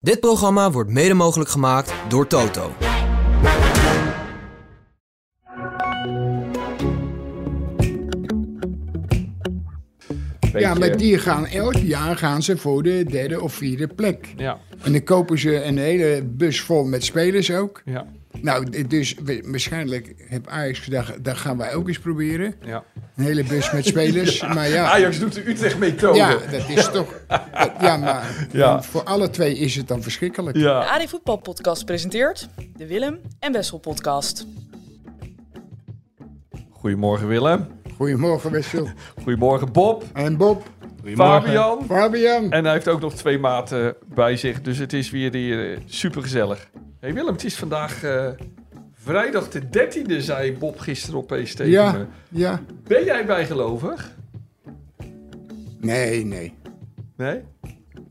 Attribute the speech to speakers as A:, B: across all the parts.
A: Dit programma wordt mede mogelijk gemaakt door Toto.
B: Ja,
C: Beetje-
B: maar die gaan elk jaar gaan ze voor de derde of vierde plek.
C: Ja,
B: En dan kopen ze een hele bus vol met spelers ook.
C: ja,
B: Nou, d- dus we- waarschijnlijk heb Ajax gedacht, dat gaan wij ook eens proberen.
C: ja.
B: Een hele bus met spelers. Maar ja,
C: Ajax doet de Utrecht-methode.
B: ja, dat is toch... Ja, maar
C: Ja.
B: voor alle twee is het dan verschrikkelijk.
C: Ja.
D: De AD Voetbal Podcast presenteert de Willem en Wessel Podcast.
C: Goedemorgen Willem.
B: Goedemorgen, Wessel.
C: Goedemorgen Bob.
B: En Bob,
C: Fabian.
B: Fabian.
C: En hij heeft ook nog twee maten bij zich. Dus het is weer die, eh, supergezellig. hey Willem, het is vandaag eh, vrijdag de 13e, zei Bob gisteren opeens tegen me.
B: Ja, ja.
C: Ben jij bijgelovig?
B: Nee, nee,
C: Nee?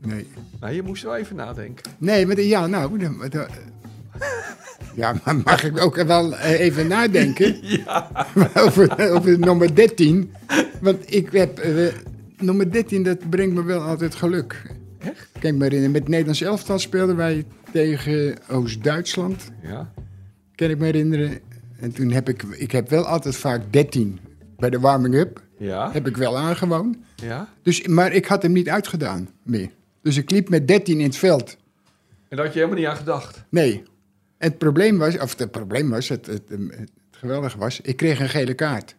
B: nee.
C: Nou, je moest wel even nadenken.
B: Nee, maar de- ja, nou... de- de- ja, maar mag ik ook wel eh, even nadenken?
C: Ja.
B: over, over nummer 13. Want ik heb. eh, nummer 13, dat brengt me wel altijd geluk.
C: Echt?
B: Kijk maar in. Met het Nederlands elftal speelden wij tegen Oost-Duitsland.
C: Ja.
B: Kan ik me herinneren. En toen heb ik. Ik heb wel altijd vaak 13 bij de warming-up.
C: Ja.
B: Heb ik wel aangewoon.
C: Ja.
B: Dus, maar ik had hem niet uitgedaan meer. Dus ik liep met 13 in het veld.
C: En daar had je helemaal niet aan gedacht.
B: Nee. Het probleem was, of het probleem was, het, het, het geweldige was, ik kreeg een gele kaart.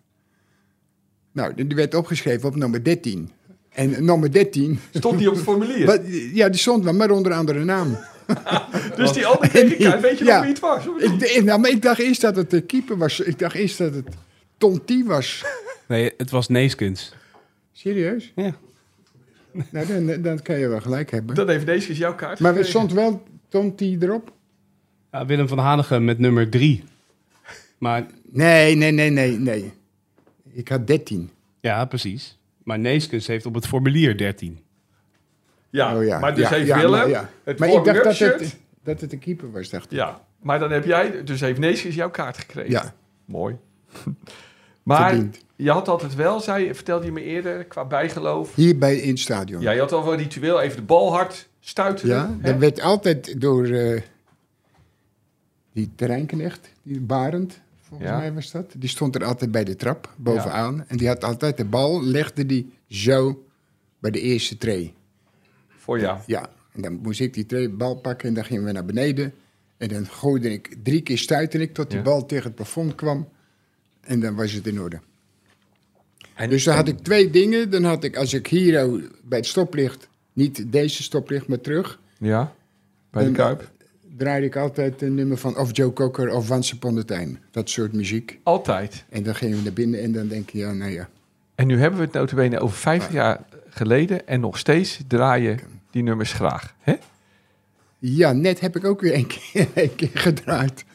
B: Nou, die werd opgeschreven op nummer 13. En nummer 13,
C: Stond niet op het formulier.
B: wat, ja, die stond wel, maar onder een andere naam.
C: dus die andere keer, weet je
B: Ja.
C: nog wie het was? of niet?
B: Ik, d- nou, maar ik dacht eerst dat het de keeper was. Ik dacht eerst dat het Tonti was.
E: Nee, het was Neeskens.
B: Serieus?
E: Ja.
B: Nou, dan, dan kan je wel gelijk hebben.
C: Dan heeft deze keer jouw kaart
B: Maar er
C: gekregen.
B: stond wel Tonti erop?
E: Willem van Hanegem met nummer 3. Maar
B: Nee, nee, nee, nee, nee. Ik had 13.
E: ja, precies. Maar Neeskens heeft op het formulier 13.
C: Ja,
B: Oh ja,
C: maar dus
B: ja,
C: heeft
B: ja,
C: Willem
B: maar ja.
C: het
B: Maar ik dacht dat
C: shirt.
B: het, dat het de keeper was, dacht ik.
C: Ja, maar dan heb jij, dus heeft Neeskens jouw kaart gekregen.
B: Ja,
C: Mooi. maar
B: Verdiend.
C: je had altijd wel, zei, vertelde je me eerder, qua bijgeloof.
B: hier bij, in het stadion.
C: Ja, je had al wel ritueel even de bal hard stuiteren.
B: Ja,
C: hè?
B: dat werd altijd door eh, die terreinknecht, die Barend, volgens
C: Ja.
B: mij was dat. Die stond er altijd bij de trap, bovenaan. En die had altijd de bal, legde die zo bij de eerste tree.
C: Voor jou.
B: Ja, en dan moest ik die tree bal pakken en dan gingen we naar beneden. En dan gooide ik, drie keer stuitte ik tot die
C: Ja.
B: bal tegen het plafond kwam. En dan was het in orde.
C: En-
B: Dus dan had ik twee dingen. Dan had ik, als ik hier oh, bij het stoplicht, niet deze stoplicht, maar terug,
C: Ja, bij de
B: En-
C: Kuip.
B: draaide ik altijd een nummer van of Joe Cocker of Once Upon a Time. Dat soort muziek.
C: Altijd.
B: En dan gingen we naar binnen en dan denk je, ja, nou ja.
C: En nu hebben we het notabene over 50 jaar geleden en nog steeds draaien die nummers graag. Hè?
B: Ja, net heb ik ook weer een keer, een keer gedraaid.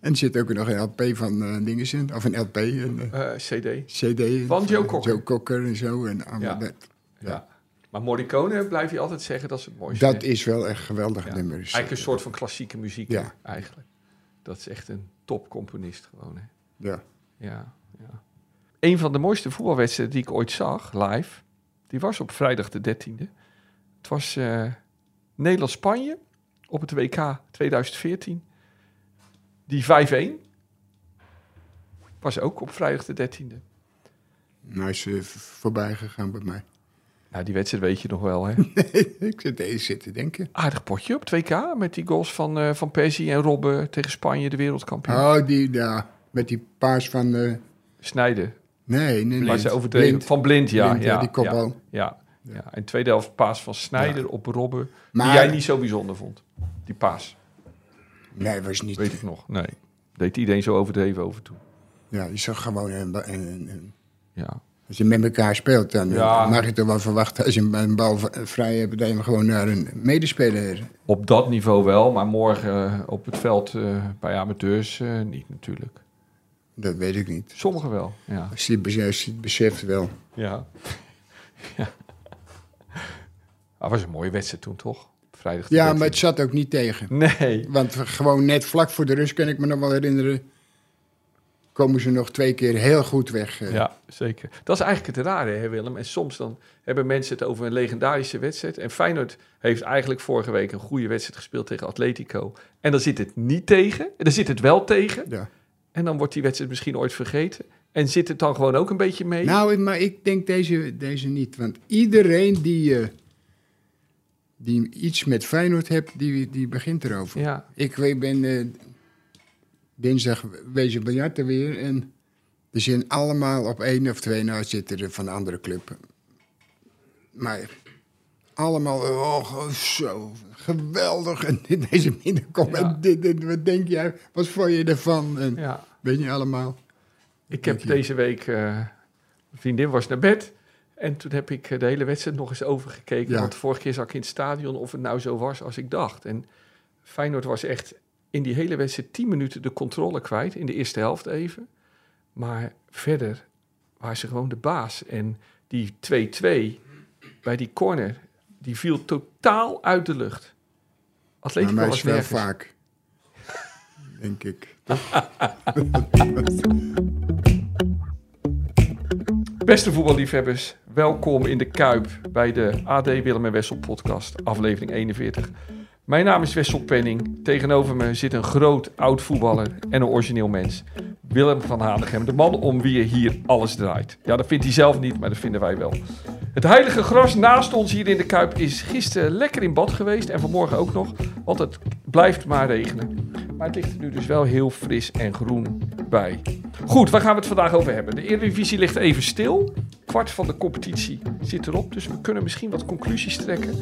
B: En er zit ook nog een LP van eh dingen in, of een LP, een eh,
C: Eh, CD.
B: CD.
C: Van Joe Cocker.
B: Joe Cocker en zo. En allemaal
C: Ja.
B: dat,
C: Ja. Maar Morricone blijf je altijd zeggen dat is het mooiste.
B: dat is wel echt geweldig
C: Ja.
B: nummer. Dus,
C: Eigenlijk een soort van klassieke muziek,
B: Ja.
C: hè, eigenlijk. Dat is echt een topcomponist gewoon, hè.
B: Ja.
C: Ja, ja. Een van de mooiste voetbalwedstrijden die ik ooit zag, live, die was op vrijdag de 13e. Het was eh, Nederland-Spanje op het WK 2014. Die 5-1 was ook op vrijdag de 13e.
B: Nou is eh, v- voorbij gegaan bij mij.
C: Nou, die wedstrijd weet je nog wel, hè?
B: ik zit eens zitten denken.
C: Aardig potje op 2K met die goals van, eh, van Persie en Robben tegen Spanje, de wereldkampioen.
B: Oh, die, ja, met die paars van... eh,
C: Snijden.
B: nee, nee,
C: Maar
B: nee.
C: ze overdreven. Van blind, ja.
B: Blind,
C: ja,
B: ja, die kopbal.
C: Ja, ja. ja. En tweede helft paas van Snijder op Robben.
B: Maar-
C: Die jij niet zo bijzonder vond. Die paas.
B: Nee, was niet.
C: Weet ik nog. Nee. Deed iedereen zo overdreven over toe.
B: Ja, je zag gewoon. Een, een, een- een-
C: Ja.
B: als je met elkaar speelt, dan eh,
C: Ja.
B: mag je toch wel verwachten. Als je een bal v- vrij hebt, dat je hem gewoon naar een medespeler.
C: Op dat niveau wel, maar morgen eh, op het veld eh, bij amateurs eh, niet natuurlijk.
B: Dat weet ik niet.
C: Sommigen wel. Ja.
B: Als je het beseft, als je het beseft wel.
C: Ja. ja. Dat was een mooie wedstrijd toen, toch? Vrijdag. de
B: Ja, maar
C: 13e.
B: het zat ook niet tegen.
C: Nee.
B: Want we- gewoon net vlak voor de rust kan ik me nog wel herinneren. komen ze nog twee keer heel goed weg. eh.
C: Ja, zeker. Dat is eigenlijk het rare, hè Willem. En soms dan hebben mensen het over een legendarische wedstrijd. En Feyenoord heeft eigenlijk vorige week een goede wedstrijd gespeeld tegen Atletico. En dan zit het niet tegen. En dan zit het wel tegen.
B: Ja.
C: En dan wordt die wedstrijd misschien ooit vergeten. En zit het dan gewoon ook een beetje mee?
B: Nou, maar ik denk deze, deze niet. Want iedereen die, eh, die iets met Feyenoord heeft, die, die begint erover.
C: ja.
B: Ik we- ben eh, dinsdag wezen biljarten weer. En er zijn allemaal op één of twee na zitten er van andere club. Maar allemaal, oh, zo geweldig. En deze minder komt.
C: Ja.
B: en dit, en wat denk jij? Wat vond je ervan? En
C: ja.
B: Weet je allemaal?
C: Ik heb
B: Dank je.
C: deze week, eh, mijn vriendin was naar bed. En toen heb ik eh, de hele wedstrijd nog eens overgekeken.
B: Ja.
C: Want de vorige keer zag ik in het stadion of het nou zo was als ik dacht. En Feyenoord was echt in die hele wedstrijd 10 minuten de controle kwijt. In de eerste helft even. Maar verder waren ze gewoon de baas. En die 2-2 bij die corner, die viel totaal uit de lucht.
B: Nou, Maar
C: Atletico
B: mij is
C: was
B: wel
C: nergens.
B: vaak. denk ik.
C: Beste voetballiefhebbers, welkom in de Kuip bij de AD Willem en Wessel podcast, aflevering 41. Mijn naam is Wessel Penning. Tegenover me zit een groot oud voetballer en een origineel mens. Willem van Hanegem, de man om wie je hier alles draait. Ja, dat vindt hij zelf niet, maar dat vinden wij wel. Het heilige gras naast ons hier in de Kuip is gisteren lekker in bad geweest en vanmorgen ook nog, want het blijft maar regenen. Maar het ligt er nu dus wel heel fris en groen bij. Goed, waar gaan we het vandaag over hebben? De Eredivisie ligt even stil. Kwart van de competitie zit erop, dus we kunnen misschien wat conclusies trekken.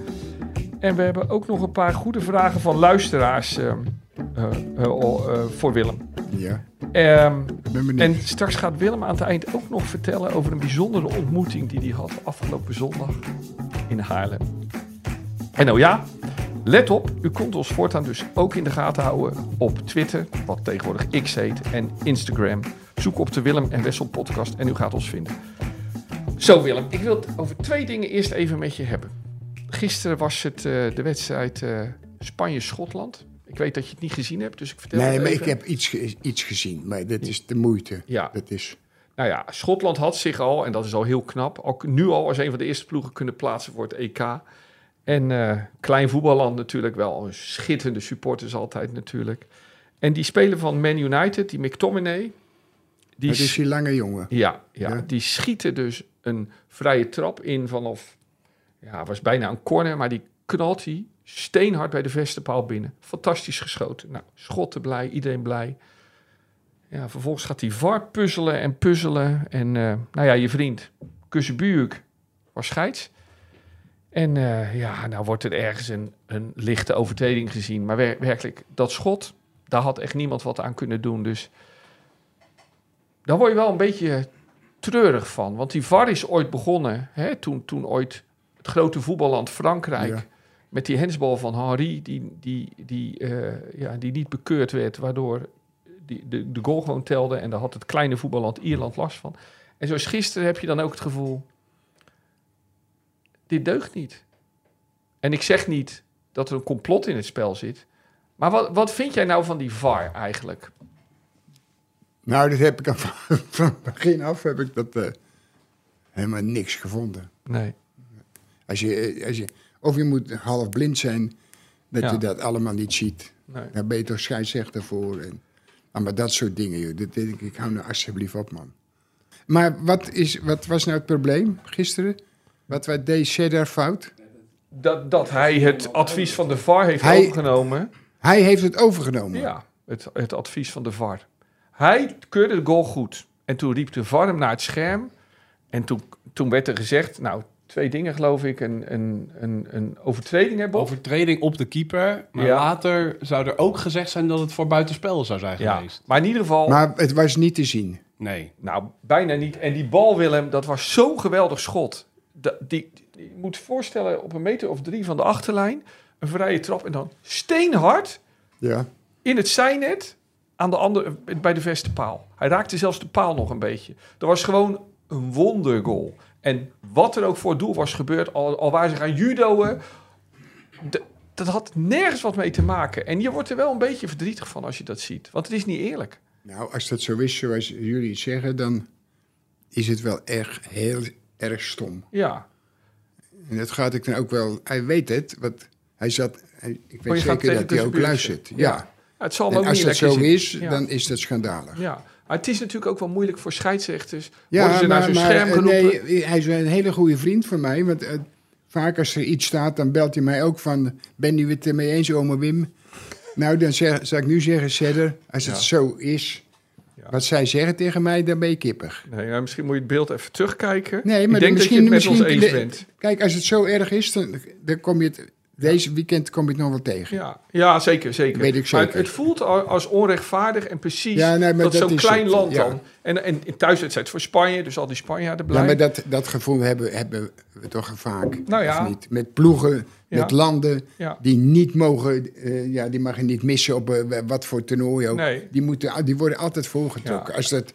C: En we hebben ook nog een paar goede vragen van luisteraars ehm, eh, eh, oh, eh, voor Willem.
B: Ja,
C: Ehm,
B: ik ben benieuwd.
C: en straks gaat Willem aan het eind ook nog vertellen over een bijzondere ontmoeting die hij had afgelopen zondag in Haarlem. En nou ja, let op, u kunt ons voortaan dus ook in de gaten houden op Twitter, wat tegenwoordig X heet, en Instagram. Zoek op de Willem en Wessel podcast en u gaat ons vinden. Zo Willem, ik wil het over twee dingen eerst even met je hebben. Gisteren was het eh, de wedstrijd eh, Spanje-Schotland. Ik weet dat je het niet gezien hebt, dus ik vertel
B: Nee,
C: het
B: maar
C: even.
B: ik heb iets, ge- iets gezien. Maar dat is de moeite.
C: Ja.
B: Dat is,
C: Nou ja, Schotland had zich al, en dat is al heel knap, al, nu al als een van de eerste ploegen kunnen plaatsen voor het EK. En eh, klein voetballand natuurlijk wel, een schitterende supporters altijd natuurlijk. En die speler van Man United, die McTominay, die,
B: dat is
C: s-
B: die lange jongen.
C: ja, ja,
B: Ja.
C: die schieten dus een vrije trap in vanaf, ja, was bijna een corner, maar die knalt hij steenhard bij de vestenpaal binnen. Fantastisch geschoten. Nou, schotten blij, iedereen blij. Ja, vervolgens gaat hij VAR puzzelen en puzzelen. En eh, nou ja, je vriend, Kussenbuurk, was scheids. En eh, ja, nou wordt er ergens een, een lichte overtreding gezien. Maar wer- werkelijk, dat schot, daar had echt niemand wat aan kunnen doen. Dus daar word je wel een beetje treurig van. Want die VAR is ooit begonnen, hè, toen, toen ooit het grote voetballand Frankrijk...
B: Ja.
C: met die hensbal van Henri, die, die, die, eh, ja, die niet bekeurd werd... waardoor die, de, de goal gewoon telde. En daar had het kleine voetballand Ierland last van. En zoals gisteren heb je dan ook het gevoel... dit deugt niet. En ik zeg niet dat er een complot in het spel zit. Maar wat, wat vind jij nou van die VAR eigenlijk?
B: Nou, dat heb ik al van, van het begin af heb ik dat eh, helemaal niks gevonden.
C: Nee.
B: Als je, eh, als je, of je moet half blind zijn dat
C: Ja.
B: je dat allemaal niet ziet.
C: nee.
B: Daar ben je toch scheidsrechter voor. En, ah, maar dat soort dingen, joh. Dat denk ik, ik hou nou alsjeblieft op, man. Maar wat, is, wat was nou het probleem gisteren? Wat wij deed Cedar fout?
C: Dat, dat hij het advies van de VAR heeft
B: Hij-
C: overgenomen.
B: Hij heeft het overgenomen.
C: Ja, het, het advies van de VAR. Hij keurde de goal goed. En toen riep de VAR hem naar het scherm. En toen, toen werd er gezegd, nou, twee dingen geloof ik. Een, een, een, een overtreding hebben. Bob?
E: Overtreding op de keeper. Maar
C: Ja.
E: later zou er ook gezegd zijn dat het voor buitenspel zou zijn
C: Ja,
E: geweest.
C: maar in ieder geval...
B: Maar het was niet te zien.
E: Nee.
C: Nou, bijna niet. En die bal, Willem, dat was zo'n geweldig schot. Dat, die, die- je moet voorstellen, op een meter of drie van de achterlijn... een vrije trap en dan steenhard
B: Ja.
C: in het zijnet... Aan de andere, bij de verste paal. Hij raakte zelfs de paal nog een beetje. Dat was gewoon een wondergoal. En wat er ook voor het doel was gebeurd... al, al waren ze gaan judoën... d- dat had nergens wat mee te maken. En je wordt er wel een beetje verdrietig van als je dat ziet. Want het is niet eerlijk.
B: Nou, als dat zo is zoals jullie het zeggen, dan is het wel erg, heel erg stom.
C: Ja.
B: En dat gaat ik dan ook wel... Hij weet het, want hij zat... hij- Ik weet
C: Oh, gaat
B: zeker
C: tegen
B: dat
C: de
B: hij ook
C: computer.
B: luistert. Ja.
C: Ja. Het zal hem
B: En
C: ook
B: als
C: niet
B: dat
C: lekker
B: zo
C: zitten.
B: is,
C: Ja.
B: dan is dat schandalig.
C: Ja. Maar het is natuurlijk ook wel moeilijk voor scheidsrechters.
B: Ja,
C: Worden ze naar zo'n scherm
B: eh,
C: geroepen?
B: nee, hij is een hele goede vriend van mij. Want eh, vaak als er iets staat, dan belt hij mij ook van... Ben je het ermee eens, oma Wim? Nou, dan zeg, zou ik nu zeggen, Sedder, als het
C: Ja.
B: zo is...
C: Ja.
B: Wat zij zeggen tegen mij, dan ben je kippig.
C: Nee, nou, misschien moet je het beeld even terugkijken.
B: Nee,
C: ik
B: maar
C: denk dat
B: misschien-
C: je het met
B: misschien-
C: ons eens
B: de-
C: bent.
B: Kijk, als het zo erg is, dan, dan kom je het... Deze weekend kom je het nog wel tegen.
C: Ja, ja zeker, zeker.
B: Weet ik
C: Maar
B: zeker.
C: het voelt al- als onrechtvaardig en precies
B: Ja, nee, maar
C: dat,
B: dat
C: zo'n
B: is
C: klein
B: het,
C: land
B: ja.
C: dan... En, en in thuiswedstrijd voor Spanje, dus al die Spanjaarden
B: Ja,
C: blij.
B: maar dat, dat gevoel hebben, hebben we toch vaak.
C: Nou ja.
B: Of niet? Met ploegen,
C: Ja.
B: met landen
C: Ja.
B: die niet mogen, eh, ja, die mag je niet missen op eh, wat voor toernooi ook.
C: Nee.
B: Die, moeten, die worden altijd voorgetrokken.
C: Ja.
B: Als dat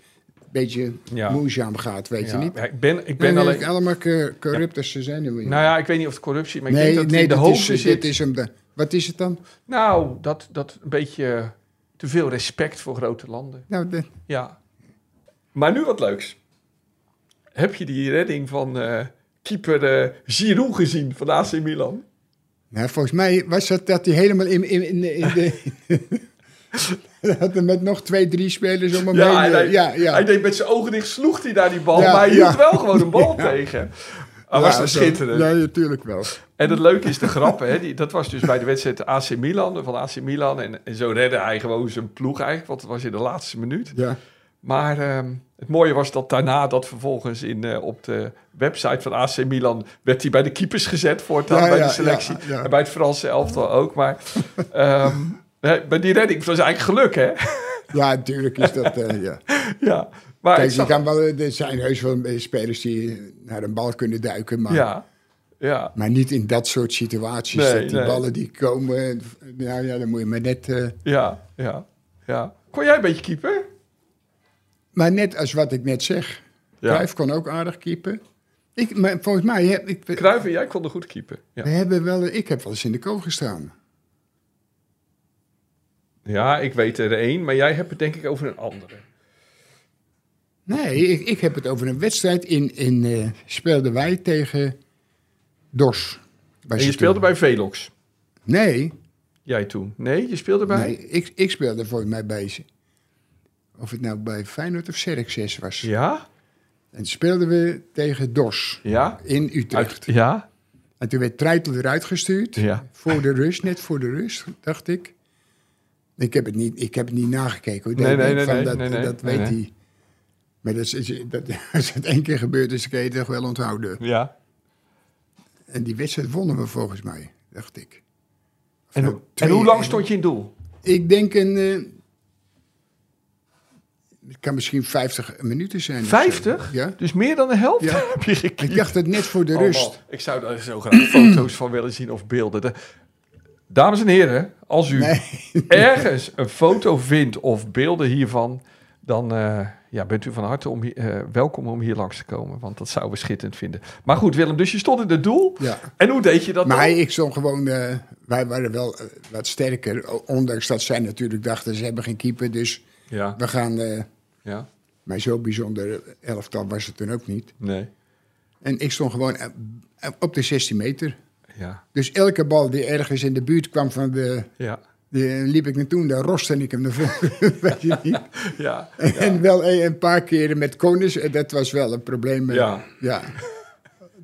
B: een beetje
C: Ja.
B: moeizaam gaat, weet
C: Ja,
B: je niet.
C: ja, ik ben, ik
B: Ik ben
C: ben alleen...
B: allemaal cor- corrupt als ze zijn. er weer.
C: Nou ja, ik weet niet of het corruptie... Maar ik
B: nee,
C: denk dat het
B: nee,
C: in de
B: dat
C: hoofden
B: is,
C: zit...
B: dit is hem. de- Wat is het dan?
C: Nou, dat, dat een beetje te veel respect voor grote landen.
B: Nou, de-
C: Ja. Maar nu wat leuks. Heb je die redding van eh, keeper eh, Giroud gezien van AC Milan?
B: nou, volgens mij was dat dat hij helemaal in, in, in, in de... Dat had hem met nog twee, drie spelers om hem
C: Ja,
B: heen.
C: hij,
B: eh,
C: deed-
B: ja, ja.
C: hij deed met zijn ogen dicht, sloeg hij naar die bal.
B: Ja,
C: maar hij hield
B: ja.
C: wel gewoon een bal tegen. Ah, was dat
B: zo.
C: schitterend.
B: Ja, natuurlijk wel.
C: En het leuke is de grap, hè? Die, dat was dus bij de wedstrijd AC Milan, van AC Milan. En, en zo redde hij gewoon zijn ploeg eigenlijk, want het was in de laatste minuut.
B: Ja.
C: Maar ehm, het mooie was dat daarna dat vervolgens in, eh, op de website van AC Milan werd hij bij de keepers gezet voortaan
B: Ja,
C: bij
B: ja,
C: de selectie.
B: ja, ja.
C: En bij het Franse elftal ook. Maar ehm, nee, bij die redding was eigenlijk geluk, hè?
B: Ja, natuurlijk is dat. eh, ja.
C: ja. Maar
B: Kijk,
C: ik
B: je
C: zag-
B: kan wel, er zijn heus wel eh, spelers die naar een bal kunnen duiken, maar,
C: ja, ja.
B: maar niet in dat soort situaties.
C: Nee,
B: dat die
C: nee.
B: ballen die komen. eh, Nou ja, dan moet je maar net. eh,
C: Ja, ja, ja. Kon jij een beetje keeper?
B: maar net als wat ik net zeg. Cruijff kon ook aardig keeper. Ik, maar volgens mij heb ik.
C: Cruijff en jij konden goed keeper. Ja.
B: We hebben wel, ik heb wel eens in de kool gestaan.
C: ja, ik weet er één, maar jij hebt het denk ik over een andere.
B: Nee, ik, ik heb het over een wedstrijd. In, in eh, speelden wij tegen Dos.
C: En je speelde bij Velox,
B: Nee,
C: jij toen. Nee, je speelde bij...
B: Nee, ik, ik speelde volgens mij bij... ze- Of het nou bij Feyenoord of Xerxes was.
C: Ja?
B: En toen speelden we tegen DOS
C: Ja?
B: in Utrecht.
C: Uit- ja?
B: En toen werd Treitel eruit gestuurd.
C: Ja.
B: Voor de rust, net voor de rust, dacht ik. Ik heb het niet, ik heb het niet nagekeken. Hoor.
C: Nee,
B: Ik denk
C: nee, nee,
B: van,
C: nee,
B: dat,
C: nee, nee.
B: dat
C: Nee,
B: weet
C: nee.
B: hij. Maar dat, is- dat, als het één keer gebeurd is, kan je het toch wel onthouden.
C: Ja.
B: En die wedstrijd wonnen we volgens mij, dacht ik. Of
C: En,
B: nou,
C: ho- en
B: twee-
C: hoe lang stond je in doel?
B: Ik denk een. eh, het kan misschien 50 minuten zijn. of zo.
C: 50?
B: Ja.
C: Dus meer dan de helft
B: Ja.
C: heb je gekeken.
B: Ik dacht het net voor de
C: Oh,
B: rust.
C: ik zou daar zo graag foto's van willen zien of beelden. De- Dames en heren, als u ergens een foto vindt of beelden hiervan, dan eh, ja, bent u van harte om hier- eh, welkom om hier langs te komen. Want dat zouden we schitterend vinden. Maar goed, Willem, dus je stond in het doel.
B: Ja.
C: En hoe deed je dat
B: Maar
C: dan?
B: hij, ik stond gewoon. eh, wij waren wel eh, wat sterker. o- Ondanks dat zij natuurlijk dachten ze hebben geen keeper. Dus
C: Ja,
B: we gaan. eh,
C: ja,
B: maar zo bijzonder elftal was het toen ook niet.
C: nee,
B: En ik stond gewoon eh, op de 16 meter.
C: ja,
B: Dus elke bal die ergens in de buurt kwam van de.
C: ja,
B: Die liep ik naartoe en daar roste ik hem naar voren. Weet je niet?
C: ja,
B: En wel een een paar keren met konings, eh, dat was wel een probleem. eh,
C: Ja.
B: ja.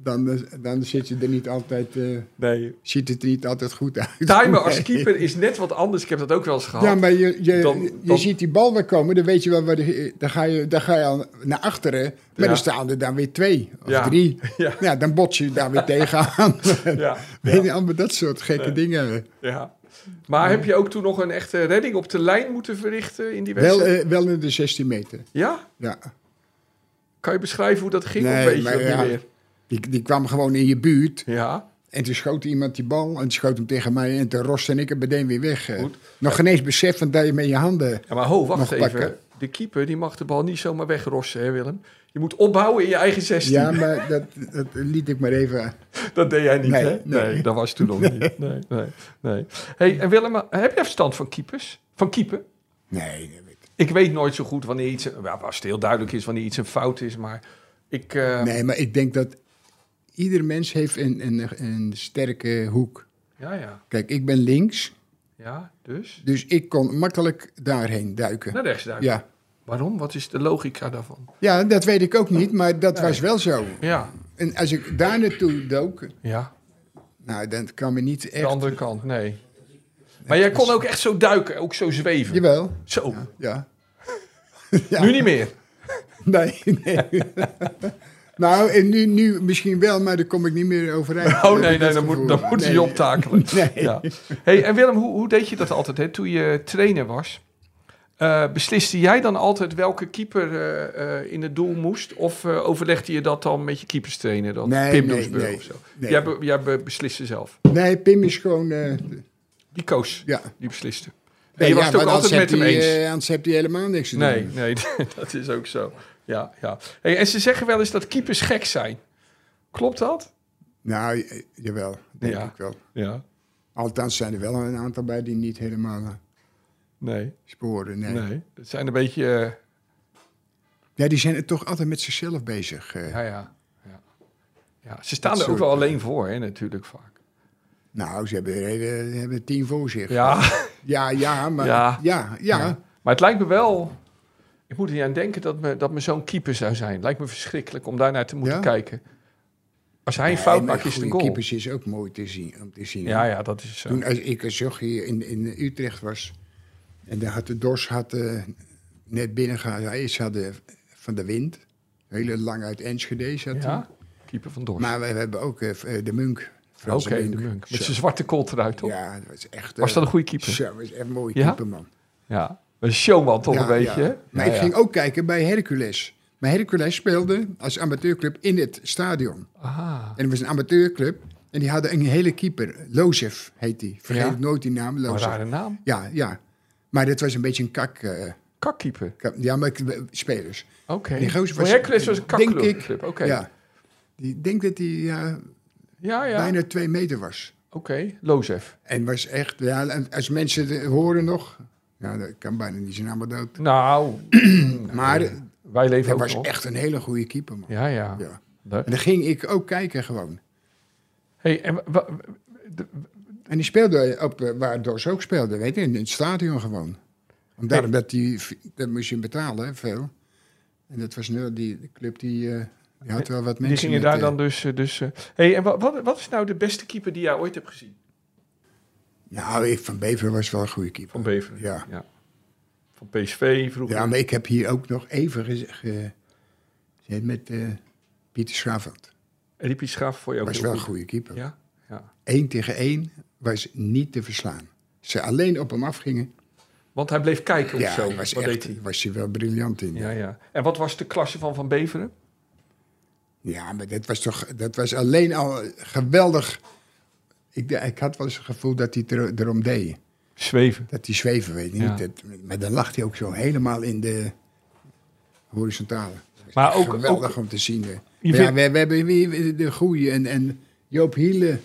B: Dan, eh, dan zit je er niet altijd, eh,
C: nee.
B: ziet het er niet altijd goed uit.
C: Timer als
B: Nee.
C: keeper is net wat anders. Ik heb dat ook wel eens gehad.
B: Ja, maar je, je,
C: Dan- dan-
B: je ziet die bal weer komen, dan weet je wel, waar de, dan, ga je, dan ga je al naar achteren. Maar
C: Ja.
B: dan staan er dan weer twee of
C: Ja.
B: drie.
C: Ja.
B: Ja. dan bots je daar weer tegenaan.
C: Ja,
B: Weet je, allemaal dat soort gekke dingen.
C: ja. Maar heb je ook toen nog een echte redding op de lijn moeten verrichten in die
B: Wel,
C: wedstrijd?
B: eh, wel in de 16 meter.
C: ja?
B: Ja.
C: Kan je beschrijven hoe dat ging?
B: Nee,
C: een beetje
B: maar
C: of niet
B: ja.
C: meer?
B: Die, die kwam gewoon in je buurt.
C: Ja,
B: En toen schoot iemand die bal en toen schoot hem tegen mij en toen roste en ik hem meteen weer weg. eh.
C: Goed.
B: Nog geen eens beseffend dat je met je handen...
C: ja maar ho, wacht
B: Nog
C: even.
B: pakken.
C: De keeper die mag de bal niet zomaar wegrossen, hè Willem? Je moet opbouwen in je eigen 16.
B: Ja, maar dat, dat liet ik maar even...
C: Dat deed jij niet,
B: Nee,
C: hè? Nee,
B: nee.
C: dat was toen nog niet. Nee, eh, nee, nee. Hey, en Willem, heb jij verstand van keepers? Van keeper?
B: Nee, dat weet ik.
C: Ik Ik weet nooit zo goed wanneer iets... Ja, als het heel duidelijk is wanneer iets een fout is, maar ik... eh,
B: Nee, maar ik denk dat ieder mens heeft een, een, een sterke hoek.
C: Ja, ja.
B: Kijk, ik ben links,
C: Ja, dus?
B: dus ik kon makkelijk daarheen duiken.
C: Naar rechts duiken.
B: Ja,
C: Waarom? Wat is de logica daarvan?
B: ja dat weet ik ook niet, maar dat was wel zo.
C: Ja,
B: En als ik daar naartoe dook,
C: ja.
B: nou, dan kan me niet
C: De
B: echt...
C: andere kant, nee. Maar jij kon ook echt zo duiken, ook zo zweven.
B: Jawel,
C: Zo,
B: ja.
C: nu niet meer.
B: Nee, nee. nou, en nu, nu misschien wel, maar daar kom ik niet meer overeind.
C: Oh
B: Heb
C: nee,
B: ik
C: nee,
B: het
C: dan moet,
B: gevoel.
C: dan moet
B: Nee.
C: je optakelen.
B: Nee.
C: Ja. Hey, en Willem, hoe, hoe deed je dat altijd hè? toen je trainer was? eh, besliste jij dan altijd welke keeper eh, eh, in het doel moest? Of eh, overlegde je dat dan met je keeperstrainer? Dat
B: Nee,
C: Pim
B: nee,
C: Doesburg
B: nee,
C: of zo?
B: nee.
C: Jij, be- jij be- besliste zelf.
B: Nee, Pim is gewoon... eh,
C: Die koos,
B: ja.
C: die besliste. En
B: Nee,
C: je
B: ja,
C: was het
B: want
C: ook
B: anders
C: altijd met
B: heb
C: hem
B: hij,
C: eens.
B: eh, anders heb hij helemaal niks te
C: nee,
B: doen.
C: nee, dat is ook zo. Ja, ja. Hey, en ze zeggen wel eens dat keepers gek zijn. Klopt dat?
B: Nou, eh, jawel, denk
C: Ja.
B: ik wel.
C: Ja.
B: Althans zijn er wel een aantal bij die niet helemaal eh,
C: Nee,
B: sporen. Nee.
C: nee. Het zijn een beetje... eh,
B: Ja, die zijn er toch altijd met zichzelf bezig. eh.
C: Ja, ja. ja. ja ze staan
B: Dat
C: er ook
B: soort- eh,
C: wel alleen voor, hè, natuurlijk vaak.
B: Nou, ze hebben, er hele- ze hebben tien voor zich.
C: Ja,
B: ja, ja, maar
C: Ja.
B: ja, ja,
C: Ja. maar het lijkt me wel... Ik moet er niet aan denken dat me, dat me zo'n keeper zou zijn. Lijkt me verschrikkelijk om daarnaar te moeten
B: Ja?
C: kijken. Als hij een fout
B: En met
C: maakt, is het een
B: goede
C: goal.
B: keepers is ook mooi te zien, om te zien.
C: Ja, ja, dat is zo.
B: Toen als ik als jochie in, in Utrecht was... en daar had de Dors had, eh, net binnengehaald... Eerst hadden Van de Wind, hele lang uit Enschede zat hij.
C: Ja, keeper van Dorst.
B: Maar we, hebben ook eh, de Munk,
C: Oké,
B: Frans
C: de Munk. Met
B: Zo.
C: zijn zwarte kont eruit, toch?
B: Ja, dat was echt...
C: Was
B: eh,
C: dat een goede keeper?
B: Zo, dat was echt een mooie
C: Ja?
B: keeper, man.
C: Ja, een showman toch
B: Ja,
C: een beetje,
B: ja.
C: hè?
B: Maar
C: Ja,
B: ik
C: ja.
B: ging ook kijken bij Hercules. Maar Hercules speelde als amateurclub in het stadion.
C: Aha.
B: En het was een amateurclub. En die hadden een hele keeper. Lozef heet die. Vergeet
C: Ja? Oh,
B: nooit die naam,
C: Een
B: Lozef.
C: rare naam.
B: Ja, ja. Maar dat was een beetje een kak... eh,
C: Kakkeeper.
B: kak- ja, maar ik- spelers.
C: Oké.
B: Die gozer
C: Voor
B: was-
C: Hercules was een
B: denk
C: kakclub.
B: ik-
C: club, Oké. Ja,
B: Ja. Die ik denk dat hij ja,
C: ja.
B: bijna twee meter was.
C: Oké, Lozef.
B: En was echt... Ja, en als mensen het horen nog... Ja, dat kan bijna niet zijn allemaal dood.
C: Nou,
B: Maar
C: wij leven
B: dat
C: ook
B: was
C: nog.
B: echt een hele goede keeper, man.
C: Ja, ja.
B: Ja.
C: Leuk.
B: En dan ging ik ook kijken gewoon.
C: Hey, en wa- wa- de-
B: En die speelde op, eh, waar Dors ook speelde, weet je, in het stadion gewoon. Omdat
C: Hey.
B: dat die, dat moest je betalen, hè, veel. En dat was nu, die de club die, eh, die had wel wat mensen.
C: die gingen
B: met,
C: daar
B: eh,
C: dan dus... eh, dus eh, hey, en wa- wat, wat is nou de beste keeper die jij ooit hebt gezien?
B: Nou, ik, Van Bever was wel een goede keeper.
C: Van Beveren.
B: Ja.
C: Van PSV vroeger.
B: Ja, maar ik heb hier ook nog even gez- ge- gezeten met eh, Pieter Schravand.
C: En die Piet Schaaf voor jou ook
B: was
C: heel
B: wel een
C: goed.
B: goede keeper.
C: Ja, ja.
B: Eén tegen één was niet te verslaan. Ze alleen op hem afgingen.
C: Want hij bleef kijken of
B: Ja,
C: zo.
B: was,
C: wat deed
B: echt,
C: hij?
B: was hij wel briljant in.
C: Ja, ja. En wat was de klasse van Van Beveren?
B: Ja, maar dat was toch dat was alleen al geweldig. Ik, de- ik had wel eens het gevoel dat hij er, erom deed.
C: Zweven.
B: Dat hij zweven, weet je
C: Ja.
B: niet. Dat, maar dan lag hij ook zo helemaal in de horizontale. Dat was
C: Maar
B: echt
C: ook-
B: geweldig om te zien. eh. hè. Maar
C: vindt-
B: Ja, we, we hebben weer de goeie en, en Joop Hielen.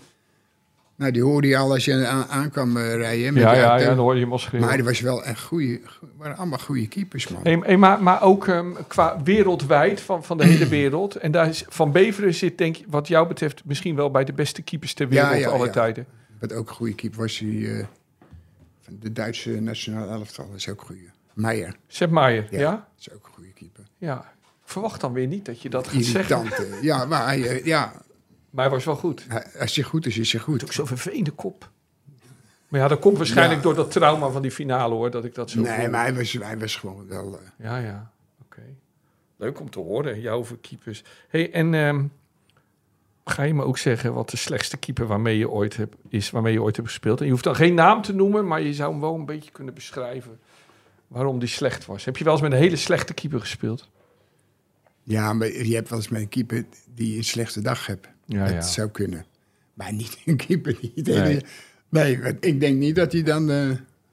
B: Nou, die hoorde je al als je aan, aan kwam eh, rijden. hè, met
C: Ja,
B: die
C: ja,
B: auto.
C: ja, dan hoor je hem al schreeuwen.
B: Maar er was wel een goede, waren allemaal goede keepers, man.
C: Hey, hey, maar, maar ook ehm, qua wereldwijd, van, van de hele wereld. En daar is, Van Beveren zit, denk ik, wat jou betreft, misschien wel bij de beste keepers ter wereld
B: Ja, ja,
C: alle
B: ja.
C: tijden.
B: Wat ook een goede keeper was, die, eh, van de Duitse nationale elftal. is ook een goede. Meijer.
C: Sepp Maier, ja?
B: Ja.
C: ja?
B: Dat is ook een goede keeper.
C: Ik verwacht dan weer niet dat je dat gaat zeggen.
B: Irritant. eh. Ja, maar hij, eh, ja,
C: Maar hij was wel goed. Hij
B: hij- als hij goed is, is hij
C: had ook
B: goed.
C: zo'n vervelende kop. Maar ja, dat komt waarschijnlijk
B: Ja.
C: door dat trauma van die finale, hoor. Dat ik dat zo
B: Nee,
C: voel.
B: maar hij was, hij was gewoon wel... eh,
C: Ja, ja. Oké. Leuk om te horen, jouw over keepers. hey, en ehm, ga je me ook zeggen wat de slechtste keeper waarmee je ooit hebt, is waarmee je ooit hebt gespeeld? En je hoeft dan geen naam te noemen, maar je zou hem wel een beetje kunnen beschrijven waarom die slecht was. Heb je wel eens met een hele slechte keeper gespeeld?
B: ja, maar je hebt wel eens met een keeper die een slechte dag hebt.
C: Ja,
B: dat
C: ja.
B: zou kunnen. Maar niet een keeper die... het
C: Nee.
B: hele- Nee, want ik denk niet dat hij dan eh,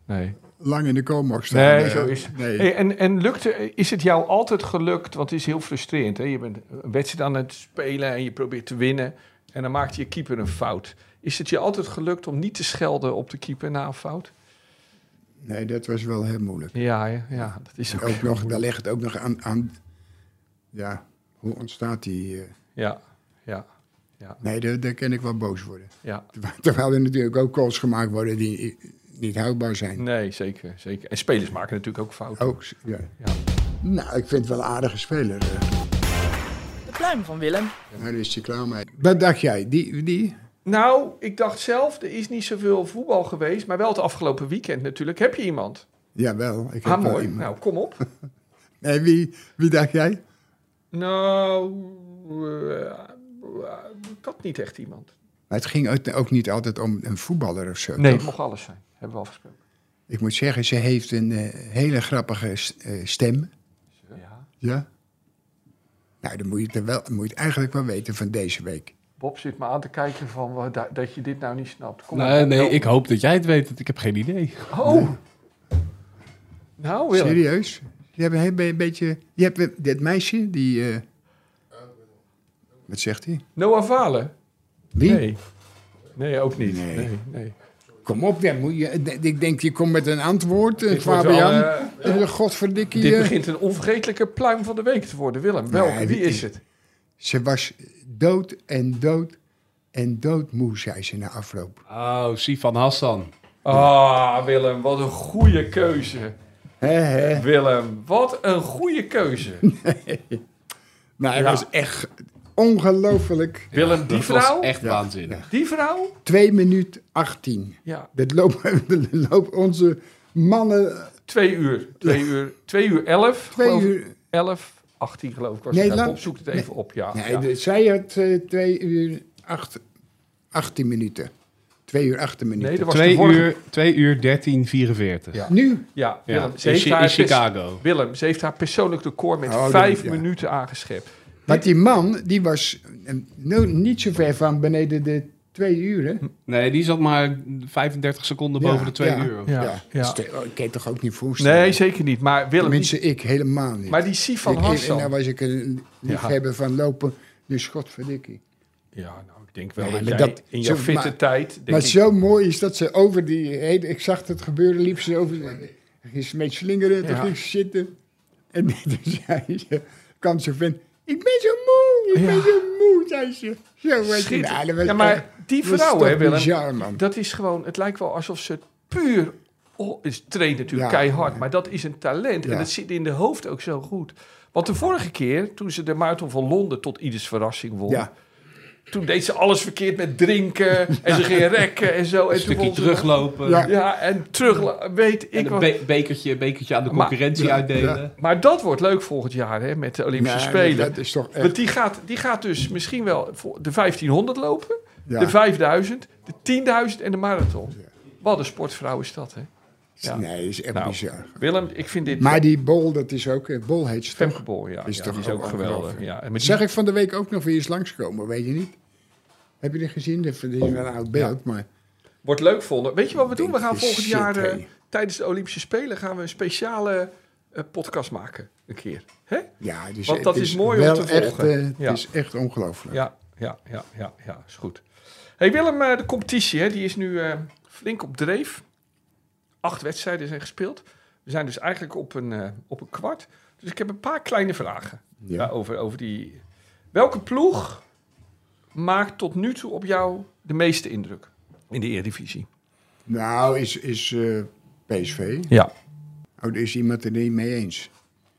C: Nee.
B: lang in de kool mag staan.
C: Nee,
B: eh.
C: zo is het.
B: Nee.
C: Hey, en, en lukte, is het jou altijd gelukt? Want het is heel frustrerend. Hè? Je bent een wedstrijd aan het spelen en je probeert te winnen. En dan maakt je keeper een fout. Is het je altijd gelukt om niet te schelden op de keeper na een fout?
B: Nee, dat was wel heel moeilijk.
C: Ja, ja, ja, dat is ook,
B: Ook nog,
C: moeilijk.
B: daar ligt het ook nog aan, aan... Ja, hoe ontstaat die... eh,
C: Ja, ja,
B: nee, daar, daar kan ik wel boos worden.
C: ja.
B: Terwijl er natuurlijk ook calls gemaakt worden die niet houdbaar zijn.
C: Nee, zeker, zeker. En spelers maken natuurlijk ook fouten.
B: Ook, ja.
C: Ja.
B: Nou, ik vind het wel een aardige speler. eh.
D: De pluim van Willem.
B: Daar is hij klaar mee. Wat dacht jij? Die, die?
C: Nou, ik dacht zelf, er is niet zoveel voetbal geweest, maar wel het afgelopen weekend natuurlijk. Heb je iemand?
B: Jawel. Ik heb
C: Ah,
B: wel
C: mooi.
B: iemand.
C: Nou, kom op.
B: Nee, wie, wie dacht jij?
C: nou, eh, ik had niet echt iemand.
B: Maar het ging ook- ook niet altijd om een voetballer of zo.
C: Nee, het
B: toch?
C: mocht alles zijn. Hebben we afgesproken.
B: Ik moet zeggen, ze heeft een eh, hele grappige s- eh, stem.
C: Ja.
B: Ja. Nou, dan moet je het, er wel, moet je het eigenlijk wel weten van deze week.
C: Bob zit me aan te kijken van wa- da- dat je dit nou niet snapt. Kom
E: Nee,
C: op,
E: nee,
C: help
E: ik
C: me.
E: hoop dat jij het weet. want Ik heb geen idee.
C: Oh. Nou, Willem.
B: Serieus? Je hebt een heel be- beetje... Je hebt eh, dit meisje, die... eh, wat zegt hij?
C: Noah Valen?
B: Wie?
C: Nee. Nee, ook niet.
B: Nee.
C: Nee, nee. nee.
B: Kom op, dan moet je, ik denk, je komt met een antwoord, eh,
C: Dit wordt
B: Fabian.
C: wel, eh,
B: Eh, Godverdikkie.
C: Dit
B: eh.
C: begint een onvergetelijke pluim van de week te worden, Willem. Welke?
B: Nee,
C: Wie
B: dit
C: is
B: is-
C: het?
B: Ze was dood en dood en doodmoe, zei ze na afloop.
E: Oh, Sifan Hassan.
C: Ah, Willem, wat een goede keuze.
B: Hè, hè.
C: Willem, wat een goede keuze.
B: Maar hij
C: Ja.
B: was echt ongelooflijk.
C: Willem, die
E: Dat was
C: vrouw?
E: echt
B: Ja.
E: waanzinnig.
C: Die vrouw?
B: 2 minuut 18.
C: Ja,
B: Dat loopt dat loopt onze mannen
C: twee uur. Twee uur, twee uur elf.
B: twee
C: geloof ik.
B: uur.
C: Elf, achttien geloof ik. Was
B: Nee,
C: het.
B: lang-
C: Bob zoekt het even op, ja.
B: Nee,
C: ja.
B: de- zij had eh, twee uur acht, 18 minuten. Twee uur 18 minuten.
C: Nee, dat was de
E: 2
C: vorige.
E: uur, 2 uur 1344.
C: Ja.
B: Nu?
C: Ja,
E: Ja,
C: Willem, ze
E: in,
C: heeft
E: Chi-
C: haar
E: in
C: pers-
E: Chicago.
C: Willem, ze heeft haar persoonlijk record met
B: Oh, dat-
C: vijf
B: ja.
C: minuten aangeschept.
B: Want die man, die was eh, nou, niet zo ver van beneden de twee uren.
E: Nee, die zat maar 35 seconden
B: Ja,
E: boven de 2
B: ja.
E: uur.
C: Ja,
B: Ja,
C: ja.
B: dat is te- oh, ik kan je toch ook niet voorstellen?
C: Nee, zeker niet. Maar Willem, die-
B: Tenminste, ik helemaal niet.
C: maar die Sifan
B: Ik- ik- en nou
C: Hassan.
B: was ik een liefhebber van lopen, dus godverdikkie.
C: Ja, nou, ik denk wel
B: Nee,
C: dat
B: maar
C: jij
B: dat-
C: in jouw
B: zo-
C: fitte
B: maar-
C: tijd... Denk
B: maar
C: ik,
B: zo mooi is dat ze over die hele... Ik zag het gebeuren, liep ze over... Er ging ze een beetje slingeren, toen
C: Ja.
B: ging ze zitten. En toen zei ze, kwam ze van... Ik ben zo moe, ik
C: Ja.
B: ben zo moe, zei ze. Zo was
C: Schitterend.
B: Nou, dat was
C: ja, maar
B: echt-
C: die
B: dat was
C: vrouw,
B: toch
C: hè, Willem,
B: bizar, man.
C: dat is gewoon... Het lijkt wel alsof ze het puur... Oh, is traint natuurlijk
B: Ja.
C: keihard, maar dat is een talent.
B: Ja.
C: En dat zit in de hoofd ook zo goed. Want de vorige keer, toen ze de Marathon van Londen tot ieders verrassing won...
B: Ja,
C: toen deed ze alles verkeerd met drinken en ze ging rekken en zo.
E: Een
C: en toen
E: stukje
C: won ze-
E: teruglopen.
B: Ja.
C: Ja, en terug, weet
E: En
C: ik
E: een
C: wat.
E: be- bekertje, bekertje aan de
C: Maar-
E: concurrentie
B: Ja,
E: uitdelen.
B: ja.
C: Maar dat wordt leuk volgend jaar hè, met de Olympische
B: Nee,
C: Spelen.
B: Dat is toch echt...
C: Want die gaat, die gaat dus misschien wel voor de 1500 lopen,
B: ja.
C: de 5000, de 10.000 en de marathon.
B: Ja.
C: Wat een sportvrouw is dat, hè? ja.
B: Nee, dat is echt
C: Nou.
B: bizar.
C: Willem, ik vind dit...
B: Maar die bol, dat is ook... eh, Bol heet ze toch?
C: Femke Bol, ja,
B: Is
C: ja,
B: toch
C: die is ook
B: ook
C: geweldig.
B: ongelooflijk.
C: Ja. En met die-
B: Zeg ik van de week ook nog weer eens langskomen, weet je niet? Heb je dit gezien? Dat is wel een oud beeld, maar...
C: Wordt leuk vonden. Weet je wat we doen? We gaan
B: Shit,
C: volgend jaar eh,
B: hey.
C: tijdens de Olympische Spelen gaan we een speciale eh, podcast maken. Een keer. Hè?
B: Ja, dus
C: Want
B: het
C: dat is mooi om
B: wel
C: te
B: echt,
C: volgen.
B: eh, het
C: Ja.
B: is echt ongelooflijk.
C: Ja, ja, ja, ja, ja, is goed. Hey Willem, eh, de competitie hè, die is nu eh, flink op dreef. Acht wedstrijden zijn gespeeld. We zijn dus eigenlijk op een, eh, op een kwart. Dus ik heb een paar kleine vragen
B: Ja.
C: ja, over, over die. Welke ploeg maakt tot nu toe op jou de meeste indruk in de Eredivisie?
B: Nou, is, is eh, PSV...
C: Ja.
B: Oh, er is iemand het er niet mee eens.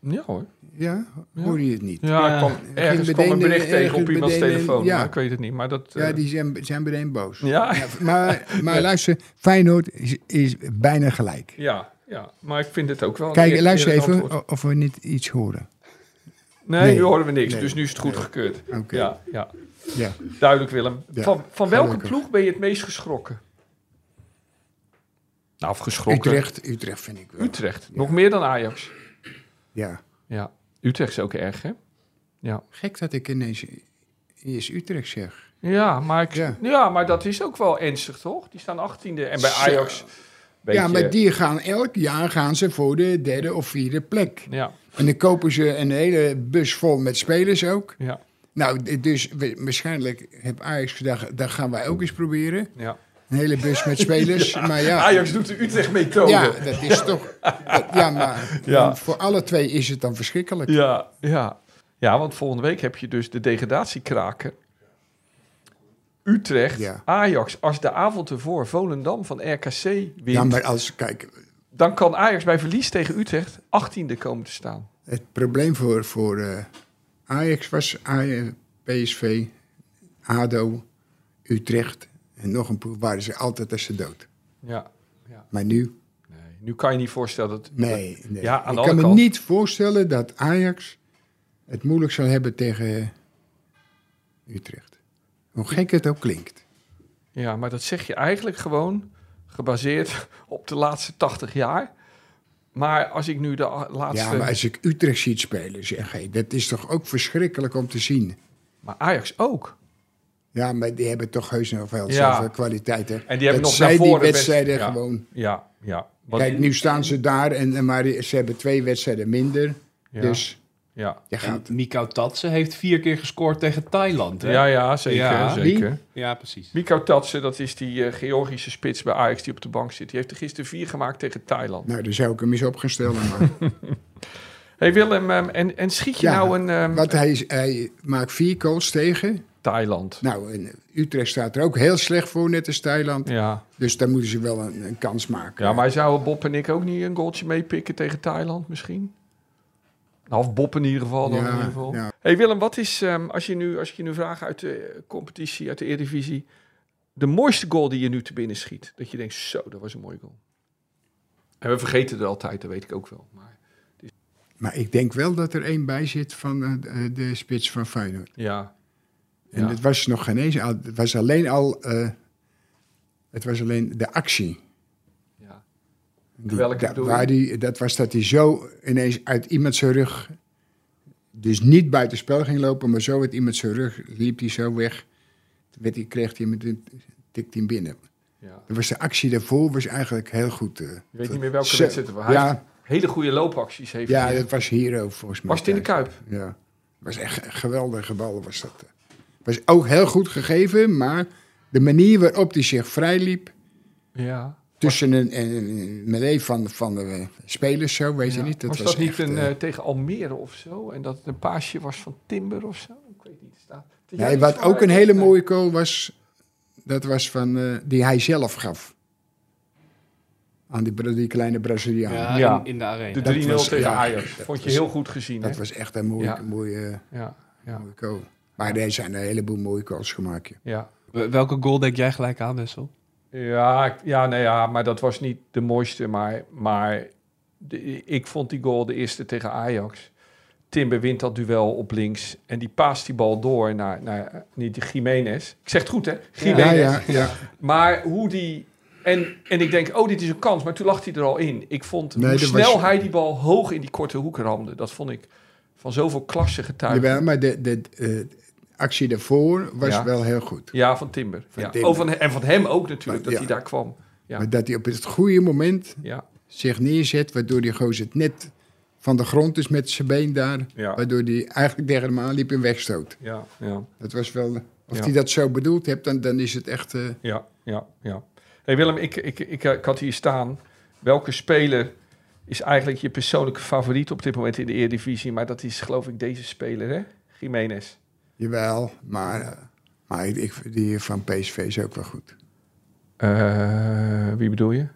C: Ja hoor.
B: Ja?
C: Ja.
B: Hoor je het niet?
C: Ja, ik kwam,
B: Ging
C: ergens kwam een
B: meteen,
C: bericht
B: eh,
C: tegen op
B: ergens
C: iemands
B: meteen, eh,
C: telefoon.
B: ja.
C: Ja. ik weet het niet, maar dat...
B: Ja,
C: eh,
B: die zijn, zijn meteen boos.
C: ja,
B: Ja, maar maar luister, Feyenoord is, is bijna gelijk.
C: ja, ja, maar ik vind het ook wel... een
B: Kijk,
C: eer-
B: luister
C: eerlijk
B: even
C: antwoord.
B: o- of we niet iets horen.
C: Nee,
B: Nee.
C: nu horen we niks.
B: Nee.
C: Dus nu is het goed gekeurd.
B: Oké,
C: Ja, ja,
B: ja.
C: duidelijk Willem.
B: Ja,
C: Van, van welke
B: gelukkig.
C: ploeg ben je het meest geschrokken? Nou, of geschrokken? Utrecht.
B: Utrecht, Utrecht vind ik wel.
C: Nog meer dan Ajax.
B: Ja.
C: Ja, Utrecht is ook erg, hè? Ja,
B: Gek dat ik ineens eerst Utrecht zeg.
C: ja, maar, ik,
B: Ja.
C: ja. maar dat is ook wel ernstig, toch? Die staan 18e en bij
B: Zo.
C: Ajax... Beetje,
B: Ja, maar die gaan elk jaar gaan ze voor de derde of vierde plek.
C: Ja,
B: En dan kopen ze een hele bus vol met spelers ook.
C: ja,
B: Nou, d- dus we- waarschijnlijk heb Ajax gedacht, dat gaan wij ook eens proberen.
C: ja.
B: Een hele bus met spelers. Maar ja,
C: Ajax doet de Utrecht-methode.
B: ja,
C: Ja.
B: dat is toch... dat- ja, maar
C: Ja.
B: voor alle twee is het dan verschrikkelijk.
C: Ja, ja. want volgende week heb je dus de degradatiekraken. Utrecht,
B: Ja.
C: Ajax. Als de avond ervoor Volendam van RKC wint...
B: Ja, maar als, kijk,
C: dan kan Ajax bij verlies tegen Utrecht 18e komen te staan.
B: het probleem voor, voor eh, Ajax was Aj- PSV, ADO, Utrecht en nog een ploeg waren ze altijd als ze dood.
C: Ja.
B: Maar nu,
C: Nee, nu kan je niet voorstellen dat...
B: nee. nee.
C: Ja, aan de
B: Ik kan
C: andere
B: me
C: kant.
B: niet voorstellen dat Ajax het moeilijk zal hebben tegen Utrecht. Hoe gek het ook klinkt.
C: Ja, maar dat zeg je eigenlijk gewoon gebaseerd op de laatste 80 jaar. Maar als ik nu de a- laatste...
B: Ja, maar als ik Utrecht ziet spelen, zeg hé, dat is toch ook verschrikkelijk om te zien.
C: maar Ajax ook.
B: Ja, maar die hebben toch heus nog wel
C: Ja.
B: zoveel kwaliteit. Hè?
C: En die hebben
B: dat
C: nog
B: zij
C: naar voren
B: die wedstrijden
C: best- ja.
B: gewoon.
C: Ja, ja. Want-
B: Kijk, nu staan ze daar, en, en maar ze hebben twee wedstrijden minder.
C: Ja,
B: Dus
C: Ja,
B: je
E: En
B: gaat.
E: Mikau Tatsen heeft vier keer gescoord tegen Thailand. Hè?
C: ja, ja zeker.
E: Ja.
C: zeker.
E: Ja, precies.
C: Mikko Tatsen, dat is die eh, Georgische spits bij Ajax die op de bank zit. Die heeft er gisteren vier gemaakt tegen Thailand.
B: Nou, daar zou ik hem eens op gaan stellen. Maar,
C: hey Willem, ehm, en, en schiet je
B: Ja,
C: nou een ehm,
B: want hij, is- hij maakt vier goals tegen.
C: Thailand?
B: Nou, en Utrecht staat er ook heel slecht voor, net als Thailand.
C: Ja.
B: Dus daar moeten ze wel een, een kans maken.
C: ja, maar zouden Bob en ik ook niet een goaltje meepikken tegen Thailand misschien? Nou, of Bob in ieder geval. Dan in ieder geval.
B: ja.
C: Hey Willem, wat is, ehm, als, je nu, als ik je nu vraag uit de competitie, uit de Eredivisie, de mooiste goal die je nu te binnen schiet? Dat je denkt, zo, dat was een mooie goal. En we vergeten het altijd, dat weet ik ook wel. Maar
B: Maar ik denk wel dat er één bij zit van eh, de, de spits van Feyenoord.
C: ja.
B: En
C: Ja.
B: het was nog geen eens. al- Het was alleen al. eh, het was alleen de actie.
C: ja.
B: Die-
C: Welke
B: da-
C: bedoel je?
B: waar die, dat was dat hij zo ineens uit iemand zijn rug... Dus niet buitenspel ging lopen, maar zo uit iemand zijn rug liep hij zo weg. Toen werd hij, kreeg hij met een tikte hem binnen.
C: ja.
B: Dat was de actie daarvoor was eigenlijk heel goed. eh.
C: Je weet niet meer welke
B: Zo,
C: wedstrijd het was. Hij heeft
B: Ja,
C: hele goede loopacties. Heeft
B: ja,
C: hij.
B: dat was Hero volgens mij.
C: was het in de
B: thuis.
C: Kuip?
B: Ja, Het was echt een geweldige bal was dat. eh. Was ook heel goed gegeven, maar de manier waarop hij zich vrijliep...
C: Ja.
B: Tussen een, een, een melee van, van de eh, spelers zo, weet
C: Ja.
B: je niet. Dat
C: was,
B: was,
C: dat niet
B: echt,
C: een,
B: eh,
C: eh, tegen Almere of zo? En dat het een paasje was van Timber of zo? Ik weet niet. Staat... Jij
B: Nee,
C: iets
B: wat
C: van
B: ook een
C: uit-
B: hele mooie goal was, dat was van, eh, die hij zelf gaf. Aan die, Bra- die kleine Braziliaan.
E: Ja,
C: Ja.
E: In, in de arena.
C: De 3-0
B: dat
C: tegen
B: was- ja,
C: Ajax.
B: dat
C: Vond je
B: was-
C: heel goed gezien.
B: Dat
C: hè?
B: was echt een mooie,
C: Ja.
B: mooie,
C: Ja, ja,
B: mooie goal. Maar er zijn een heleboel mooie goals gemaakt. joh.
C: ja.
E: W- Welke goal denk jij gelijk aan, Wessel?
C: Ja, ik- ja, nee, ja, maar dat was niet de mooiste. Maar, maar de- ik vond die goal de eerste tegen Ajax. Timber wint dat duel op links. En die paast die bal door naar, naar niet die Jiménez. Ik zeg het goed, hè? Jiménez.
B: Ja, ja, ja.
C: Maar hoe die... En, en ik denk, oh, dit is een kans. Maar toen lag hij er al in. Ik vond
B: Nee,
C: hoe
B: dat
C: snel
B: was-
C: hij die bal hoog in die korte hoek ramde. Dat vond ik van zoveel klasse getuigd.
B: Jawel, maar de, de eh, actie daarvoor was
C: Ja.
B: wel heel goed.
C: Ja, van Timber.
B: Van
C: ja.
B: Timber.
C: Oh, van, en van hem ook natuurlijk, dat
B: Maar, ja.
C: hij daar kwam. Ja.
B: Maar dat hij op het goede moment
C: Ja,
B: zich neerzet, waardoor die gozer het net van de grond is met zijn been daar.
C: Ja.
B: Waardoor die eigenlijk tegen hem aanliep en wegstoot.
C: ja, ja.
B: Dat was wel. Als
C: Ja.
B: hij dat zo bedoeld hebt, dan, dan is het echt. eh,
C: Ja, ja, ja. Hey Willem, ik, ik, ik, eh, ik had hier staan. Welke speler is eigenlijk je persoonlijke favoriet op dit moment in de Eredivisie? Maar dat is geloof ik deze speler, hè? Jiménez.
B: jawel, maar, eh, maar ik- ik, die van PSV is ook wel goed.
C: Eh, wie bedoel je?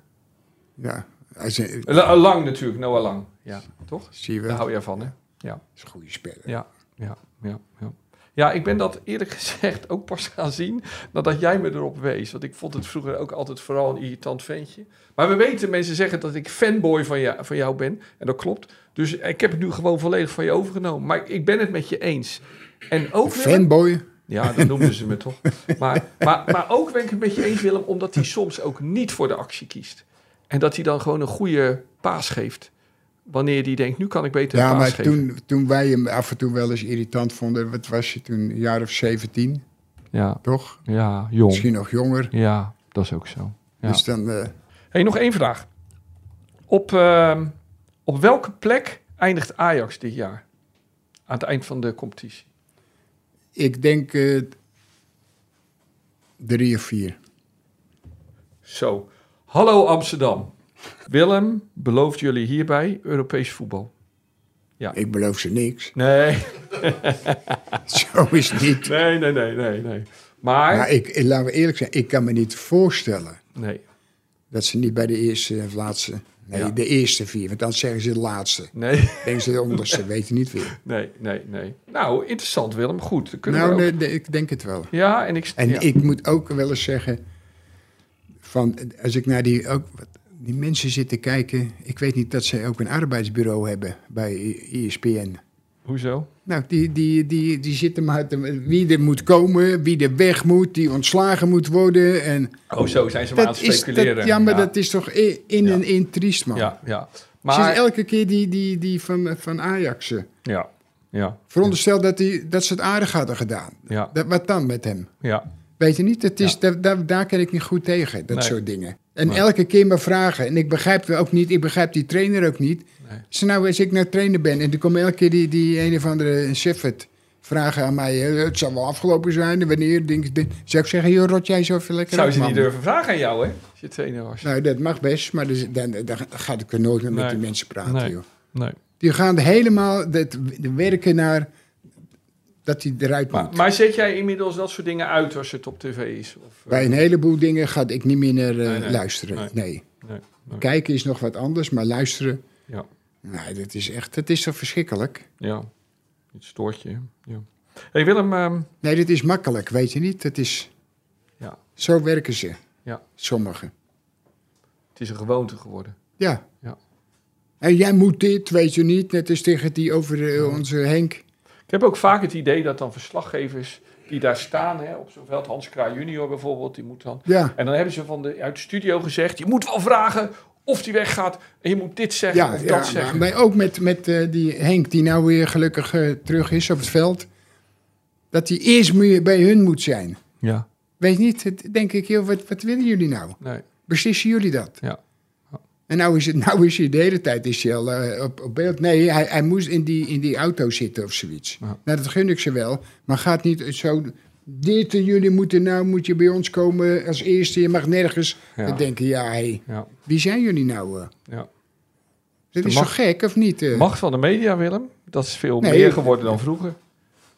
B: Ja, hij is, eh,
C: Lang natuurlijk, Noah Lang. Ja, toch?
B: zie je
C: Daar
B: wel.
C: hou
B: Dat
C: je van, hè?
B: is een goede speler.
C: Nou, Ja, ja, ja, ja. Ja, ik ben dat eerlijk gezegd ook pas gaan zien nadat jij me erop wees. Want ik vond het vroeger ook altijd vooral een irritant ventje. Maar we weten, mensen zeggen dat ik fanboy van jou, van jou ben. En dat klopt. Dus ik heb het nu gewoon volledig van je overgenomen. Maar ik ben het met je eens. En ook Willem-
B: Fanboy.
C: Ja, dat noemden ze me toch. Maar, maar, maar ook ben ik het met je eens, Willem, omdat hij soms ook niet voor de actie kiest. En dat hij dan gewoon een goede paas geeft. Wanneer hij denkt, nu kan ik beter een
B: Ja,
C: paas
B: maar
C: geven.
B: toen, toen wij hem af en toe wel eens irritant vonden, wat was je toen? Een jaar of 17,
C: Ja,
B: toch?
C: ja, jong.
B: Misschien nog jonger.
C: Ja, dat is ook zo. Ja.
B: Dus dan. eh,
C: Hey, nog één vraag. Op, ehm, op welke plek eindigt Ajax dit jaar? Aan het eind van de competitie.
B: ik denk. eh, drie of vier.
C: Zo. Hallo Amsterdam. Willem belooft jullie hierbij Europees voetbal.
B: Ik beloof ze niks.
C: Nee,
B: Zo is het niet.
C: nee, nee, nee, nee. nee. Maar,
B: Maar ik, ik- laten we eerlijk zijn, ik kan me niet voorstellen
C: nee,
B: dat ze niet bij de eerste of laatste... Nee,
C: Ja.
B: de eerste vier, want dan zeggen ze de laatste.
C: nee,
B: Denken ze de onderste, weten niet weer.
C: nee, nee, nee. Nou, interessant Willem. Goed, dan kunnen
B: Nou,
C: we ook-
B: nee, nee, ik denk het wel.
C: Ja, en ik...
B: En
C: ja.
B: ik moet ook wel eens zeggen, van, als ik naar die, ook, wat- die mensen zit te kijken, ik weet niet dat ze ook een arbeidsbureau hebben bij E I- ISPN.
C: Hoezo?
B: Nou, die, die, die, die zitten maar te, wie er moet komen, wie er weg moet, die ontslagen moet worden. En
C: Oh, zo zijn ze maar aan het
B: is,
C: speculeren.
B: dat, ja,
C: ja.
B: maar dat is toch i- in
C: Ja.
B: en in triest, man.
C: Ja, ja.
B: Ze is
C: Maar...
B: Ah. elke keer die, die, die van, van Ajax. eh.
C: Ja, ja,
B: Veronderstel dat, die, dat ze het aardig hadden gedaan.
C: ja,
B: Dat, wat dan met hem?
C: ja.
B: Weet je niet, het is, daar, daar, daar kan ik niet goed tegen, dat
C: Nee.
B: soort dingen. En
C: Nee.
B: elke keer maar vragen. En ik begrijp het ook niet, ik begrijp die trainer ook niet.
C: Nee.
B: Ze nou, als ik nou trainer ben en er komt elke keer die, die een of andere Shefford vragen aan mij. eh, Het zal wel afgelopen zijn, en wanneer, denk, denk, zou ik zeggen, joh, rot jij zoveel lekker
C: Zou
B: op,
C: ze niet
B: man.
C: durven vragen aan jou, hè? Als je trainer was.
B: Nou, dat mag best, maar dus- dan, dan, ga ik er nooit meer
C: Nee.
B: met die mensen praten,
C: Nee.
B: joh.
C: Nee.
B: Die gaan helemaal dat, de werken naar dat hij eruit moet.
C: Maar, maar zet jij inmiddels dat soort dingen uit als het op tv is? Of, eh,
B: Bij een heleboel dingen ga ik niet meer naar eh,
C: Nee, nee.
B: luisteren,
C: Nee.
B: nee.
C: nee, nee.
B: Kijken is nog wat anders, maar luisteren.
C: Ja.
B: Nou, dat is echt, dat is toch verschrikkelijk?
C: Ja, het stoort je. hè? Ja. hey Willem, ehm,
B: Nee, dat is makkelijk, weet je niet? Dat is.
C: Ja.
B: Zo werken ze.
C: Ja.
B: Sommigen.
C: het is een gewoonte geworden.
B: Ja.
C: Ja.
B: En jij moet dit, weet je niet? Net als tegen die over eh, onze Henk.
C: Ik heb ook vaak het idee dat dan verslaggevers die daar staan, hè, op zo'n veld, Hans Kraai junior bijvoorbeeld, die moet dan...
B: Ja.
C: En dan hebben ze van de, uit de studio gezegd, je moet wel vragen of die weggaat en je moet dit zeggen
B: Ja,
C: of
B: ja
C: dat
B: maar,
C: zeggen.
B: maar ook met, met eh, die Henk, die nou weer gelukkig eh, terug is op het veld. Dat hij eerst meer bij hun moet zijn.
C: Ja,
B: Weet je niet, het- denk ik, joh, wat, wat willen jullie nou?
C: nee,
B: Beslissen jullie dat?
C: ja.
B: En nou is, het, nou is hij de hele tijd is hij al eh, op, op beeld. Nee, hij, hij moest in die, in die auto zitten of zoiets.
C: Ja.
B: Nou, dat gun ik ze wel. Maar gaat niet zo... Dit en jullie moeten nou, moet je bij ons komen als eerste. Je mag nergens.
C: Ja.
B: Dan denken, ja, hé,
C: Ja,
B: wie zijn jullie nou? eh?
C: ja.
B: Dat
C: De
B: is
C: macht-
B: zo gek, of niet? eh?
C: Macht van de media, Willem, dat is veel
B: Nee,
C: meer
B: ik-
C: geworden dan vroeger.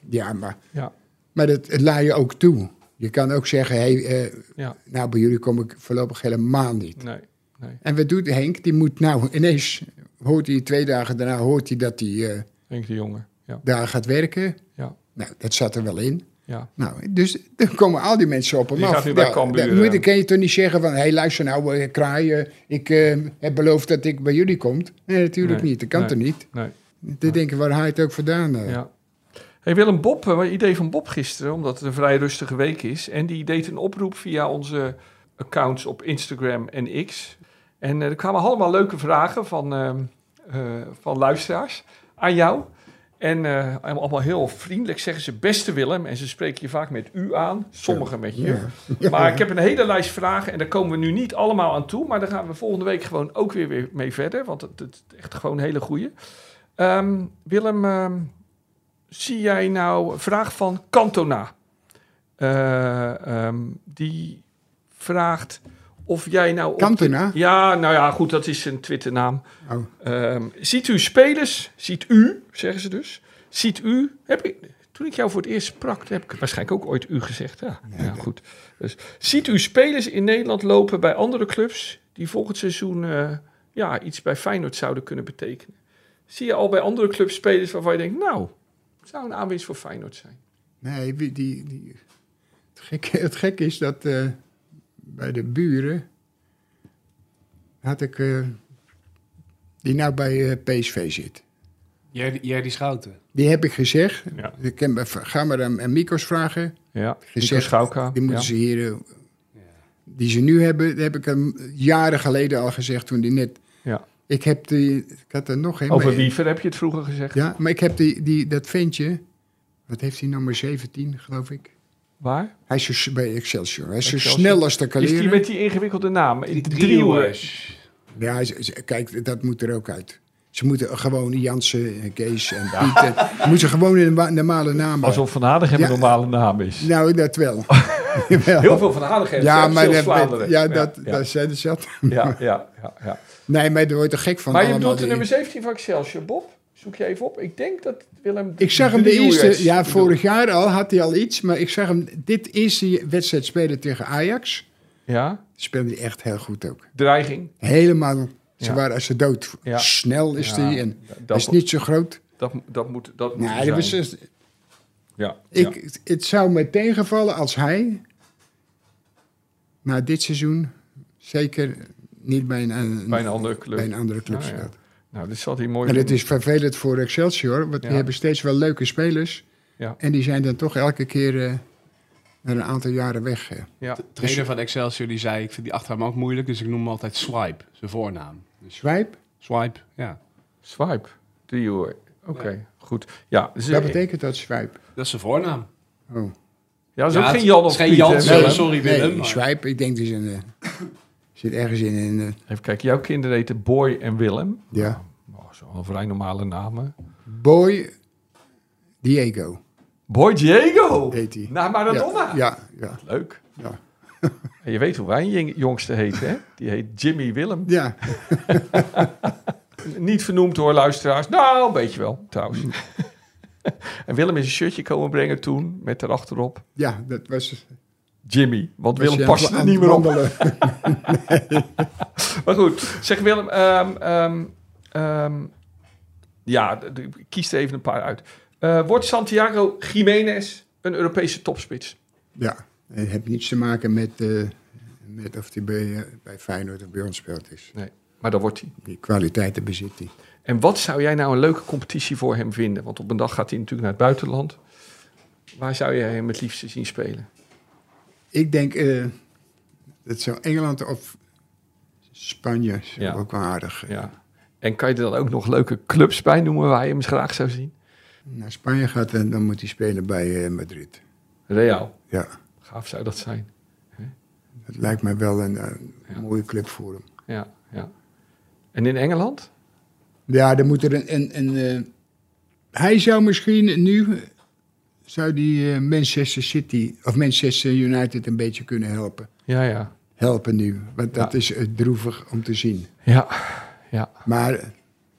B: Ja, maar,
C: Ja,
B: maar dat, dat laat je ook toe. Je kan ook zeggen, hé, eh,
C: ja,
B: nou, bij jullie kom ik voorlopig helemaal niet.
C: nee, nee.
B: En wat doet Henk? Die moet nou ineens... Hoort hij twee dagen daarna, hoort hij dat hij eh,
C: Henk de Jonge, ja,
B: daar gaat werken...
C: ja,
B: Nou, dat zat er wel in.
C: ja.
B: Nou, dus dan komen al die mensen op hem
C: Die
B: af.
C: gaat nu bij
B: Nou,
C: Cambuur,
B: dan moet-
C: eh.
B: Dan kan je toch niet zeggen van... hé, hey, luister nou, eh, kraai, eh, ik eh, heb beloofd dat ik bij jullie kom. Nee, natuurlijk
C: Nee,
B: niet. Dat kan
C: nee.
B: toch niet?
C: nee.
B: Die denken, waar haal je het ook vandaan? eh?
C: Ja. Hey Willem Bob, eh, een idee van Bob gisteren, omdat het een vrij rustige week is. En die deed een oproep via onze accounts op Instagram en X. En eh, er kwamen allemaal leuke vragen van, ehm, eh, van luisteraars aan jou. En eh, allemaal heel vriendelijk zeggen ze beste Willem. En ze spreken je vaak met u aan, sommigen met je. Maar ik heb een hele lijst vragen en daar komen we nu niet allemaal aan toe. Maar daar gaan we volgende week gewoon ook weer, weer mee verder. Want het, het is echt gewoon een hele goeie. Ehm, Willem, ehm, zie jij nou... Vraag van Cantona. Eh, ehm, die vraagt of jij nou... op de-
B: Cantona?
C: ja, nou ja, goed, dat is een Twitternaam.
B: Oh.
C: Ehm, ziet u spelers, ziet u, zeggen ze dus. Ziet u, heb ik, toen ik jou voor het eerst sprak, heb ik waarschijnlijk ook ooit u gezegd. Ja, ja, goed. Dus, ziet u spelers in Nederland lopen bij andere clubs die volgend seizoen eh, ja, iets bij Feyenoord zouden kunnen betekenen? Zie je al bij andere clubs spelers waarvan je denkt, nou, het zou een aanwinst voor Feyenoord zijn?
B: Nee, wie- die, die, het, gekke, het gekke is dat eh, bij de buren had ik... eh, die nou bij eh, PSV zit.
E: Jij, die schouten.
B: Die heb ik gezegd.
C: Ja.
B: Ik heb, ga maar aan, aan Mikos vragen.
C: Ja,
B: Nico
C: Schauka.
B: Die moeten ze hier. eh, Die ze nu hebben, dat heb ik hem jaren geleden al gezegd toen die net.
C: Ja.
B: Ik heb die. Ik had er nog een.
C: Over
B: maar-
C: Wiever heb je het vroeger gezegd.
B: Ja, maar ik heb die, die, dat ventje. Wat heeft hij, nummer 17, geloof ik?
C: Waar?
B: Hij is zo, s- bij Excelsior. Hij is zo
C: Excelsior.
B: snel als de
C: Is die
B: kaleren.
C: met die ingewikkelde naam? Driehoek.
B: Ja, ze- ze- kijk, dat moet er ook uit. Ze moeten gewoon Jansen, en Kees en Piet. en- moeten ze gewoon een wa- normale naam hebben.
C: Alsof Van Aardig een
B: Ja.
C: normale naam is.
B: Nou, dat wel.
C: Heel veel van Hanegem.
B: Ja, maar
C: veel
B: dat-
C: Vlaanderen.
B: ja, dat,
C: ja,
B: dat zijn de zat.
C: ja, ja, ja, ja.
B: Nee, maar daar word je toch gek van.
C: Maar je
B: allemaal
C: bedoelt de
B: die-
C: nummer 17 van Excelsior, Bob? Zoek je even op. Ik denk dat Willem...
B: Ik zag hem de
C: drie US
B: eerste, ja,
C: bedoelt.
B: vorig jaar al had hij al iets, maar ik zag hem dit eerste wedstrijd spelen tegen Ajax.
C: Ja,
B: Speelde hij echt heel goed ook.
C: dreiging.
B: Helemaal, ze
C: Ja.
B: waren als ze dood.
C: Ja.
B: Snel is
C: Ja,
B: hij en
C: dat,
B: is niet zo groot.
C: dat, dat moet, dat moet
B: Nee,
C: er
B: dat Nou, was, dus-
C: zijn. ja,
B: ik,
C: ja.
B: Het zou mij tegenvallen als hij na dit seizoen zeker niet bij een, een-
C: bij een andere club.
B: bij een andere club
C: Ah, ja.
B: speelt.
C: Nou, dit zat hij mooi
B: En het
C: doen.
B: is vervelend voor Excelsior, want
C: Ja.
B: die hebben steeds wel leuke spelers.
C: Ja.
B: En die zijn dan toch elke keer eh, na een aantal jaren weg. eh.
C: Ja.
E: De trainer van Excelsior die zei, ik vind die achternaam ook moeilijk, dus ik noem hem altijd Swipe, zijn voornaam. Dus
B: Swipe,
E: Swipe, ja.
C: Swipe. Drie hoor. Oké, goed. Ja, dus,
B: wat betekent dat, Swipe?
E: Dat is zijn voornaam.
B: Oh.
C: Ja, dat is
E: Ja,
C: ook
E: het
C: geen Jan
E: is
C: of
E: geen
C: Piet,
E: Jan,
C: hè,
E: sorry,
C: Willem?
E: sorry. Willem,
B: Nee,
E: maar-
B: Swipe, ik denk die zijn, eh, zit ergens in. een, eh,
C: Even kijken, jouw kinderen heten Boy en Willem.
B: ja.
C: Oh, Zo'n vrij normale namen.
B: Boy Diego
C: Boy Diego!
B: heet hij.
C: Naar Maradona!
B: Ja, ja, ja,
C: Leuk.
B: Ja.
C: En je weet hoe wij een jing- jongste heet, hè? Die heet Jimmy Willem.
B: ja.
C: Niet vernoemd hoor, luisteraars. Nou, een beetje wel, trouwens. en Willem is een shirtje komen brengen toen, met erachterop
B: ja, dat was...
C: Jimmy. Want
B: was je
C: Willem
B: aan-
C: past er
B: aan
C: niet meer op.
B: wandelen.
C: Maar goed, zeg Willem, ehm, ehm, ehm, ja, d- d- kies er even een paar uit. Eh, wordt Santiago Jiménez een Europese topspits?
B: Ja, het heeft niets te maken met, eh, met of hij bij, eh, bij Feyenoord of bij ons speelt. Is.
C: Maar dat wordt hij.
B: Die kwaliteiten bezit hij.
C: En wat zou jij nou een leuke competitie voor hem vinden? Want op een dag gaat hij natuurlijk naar het buitenland. Waar zou jij hem het liefste zien spelen?
B: Ik denk eh, dat zou Engeland of Spanje zou
C: Ja.
B: ook wel aardig. eh,
C: Ja. En kan je er dan ook nog leuke clubs bij noemen waar je hem graag zou zien?
B: Naar Spanje gaat en dan moet hij spelen bij eh, Madrid.
C: Real,
B: Ja,
C: gaaf zou dat zijn.
B: dat lijkt mij wel een, eh, mooie club voor hem.
C: Ja, ja. En in Engeland?
B: Ja, dan moet er een... een, een eh, hij zou misschien nu... Zou die eh, Manchester City of Manchester United een beetje kunnen helpen.
C: Ja, ja.
B: Helpen nu, want dat
C: Ja.
B: is eh, droevig om te zien.
C: Ja, ja.
B: Maar eh,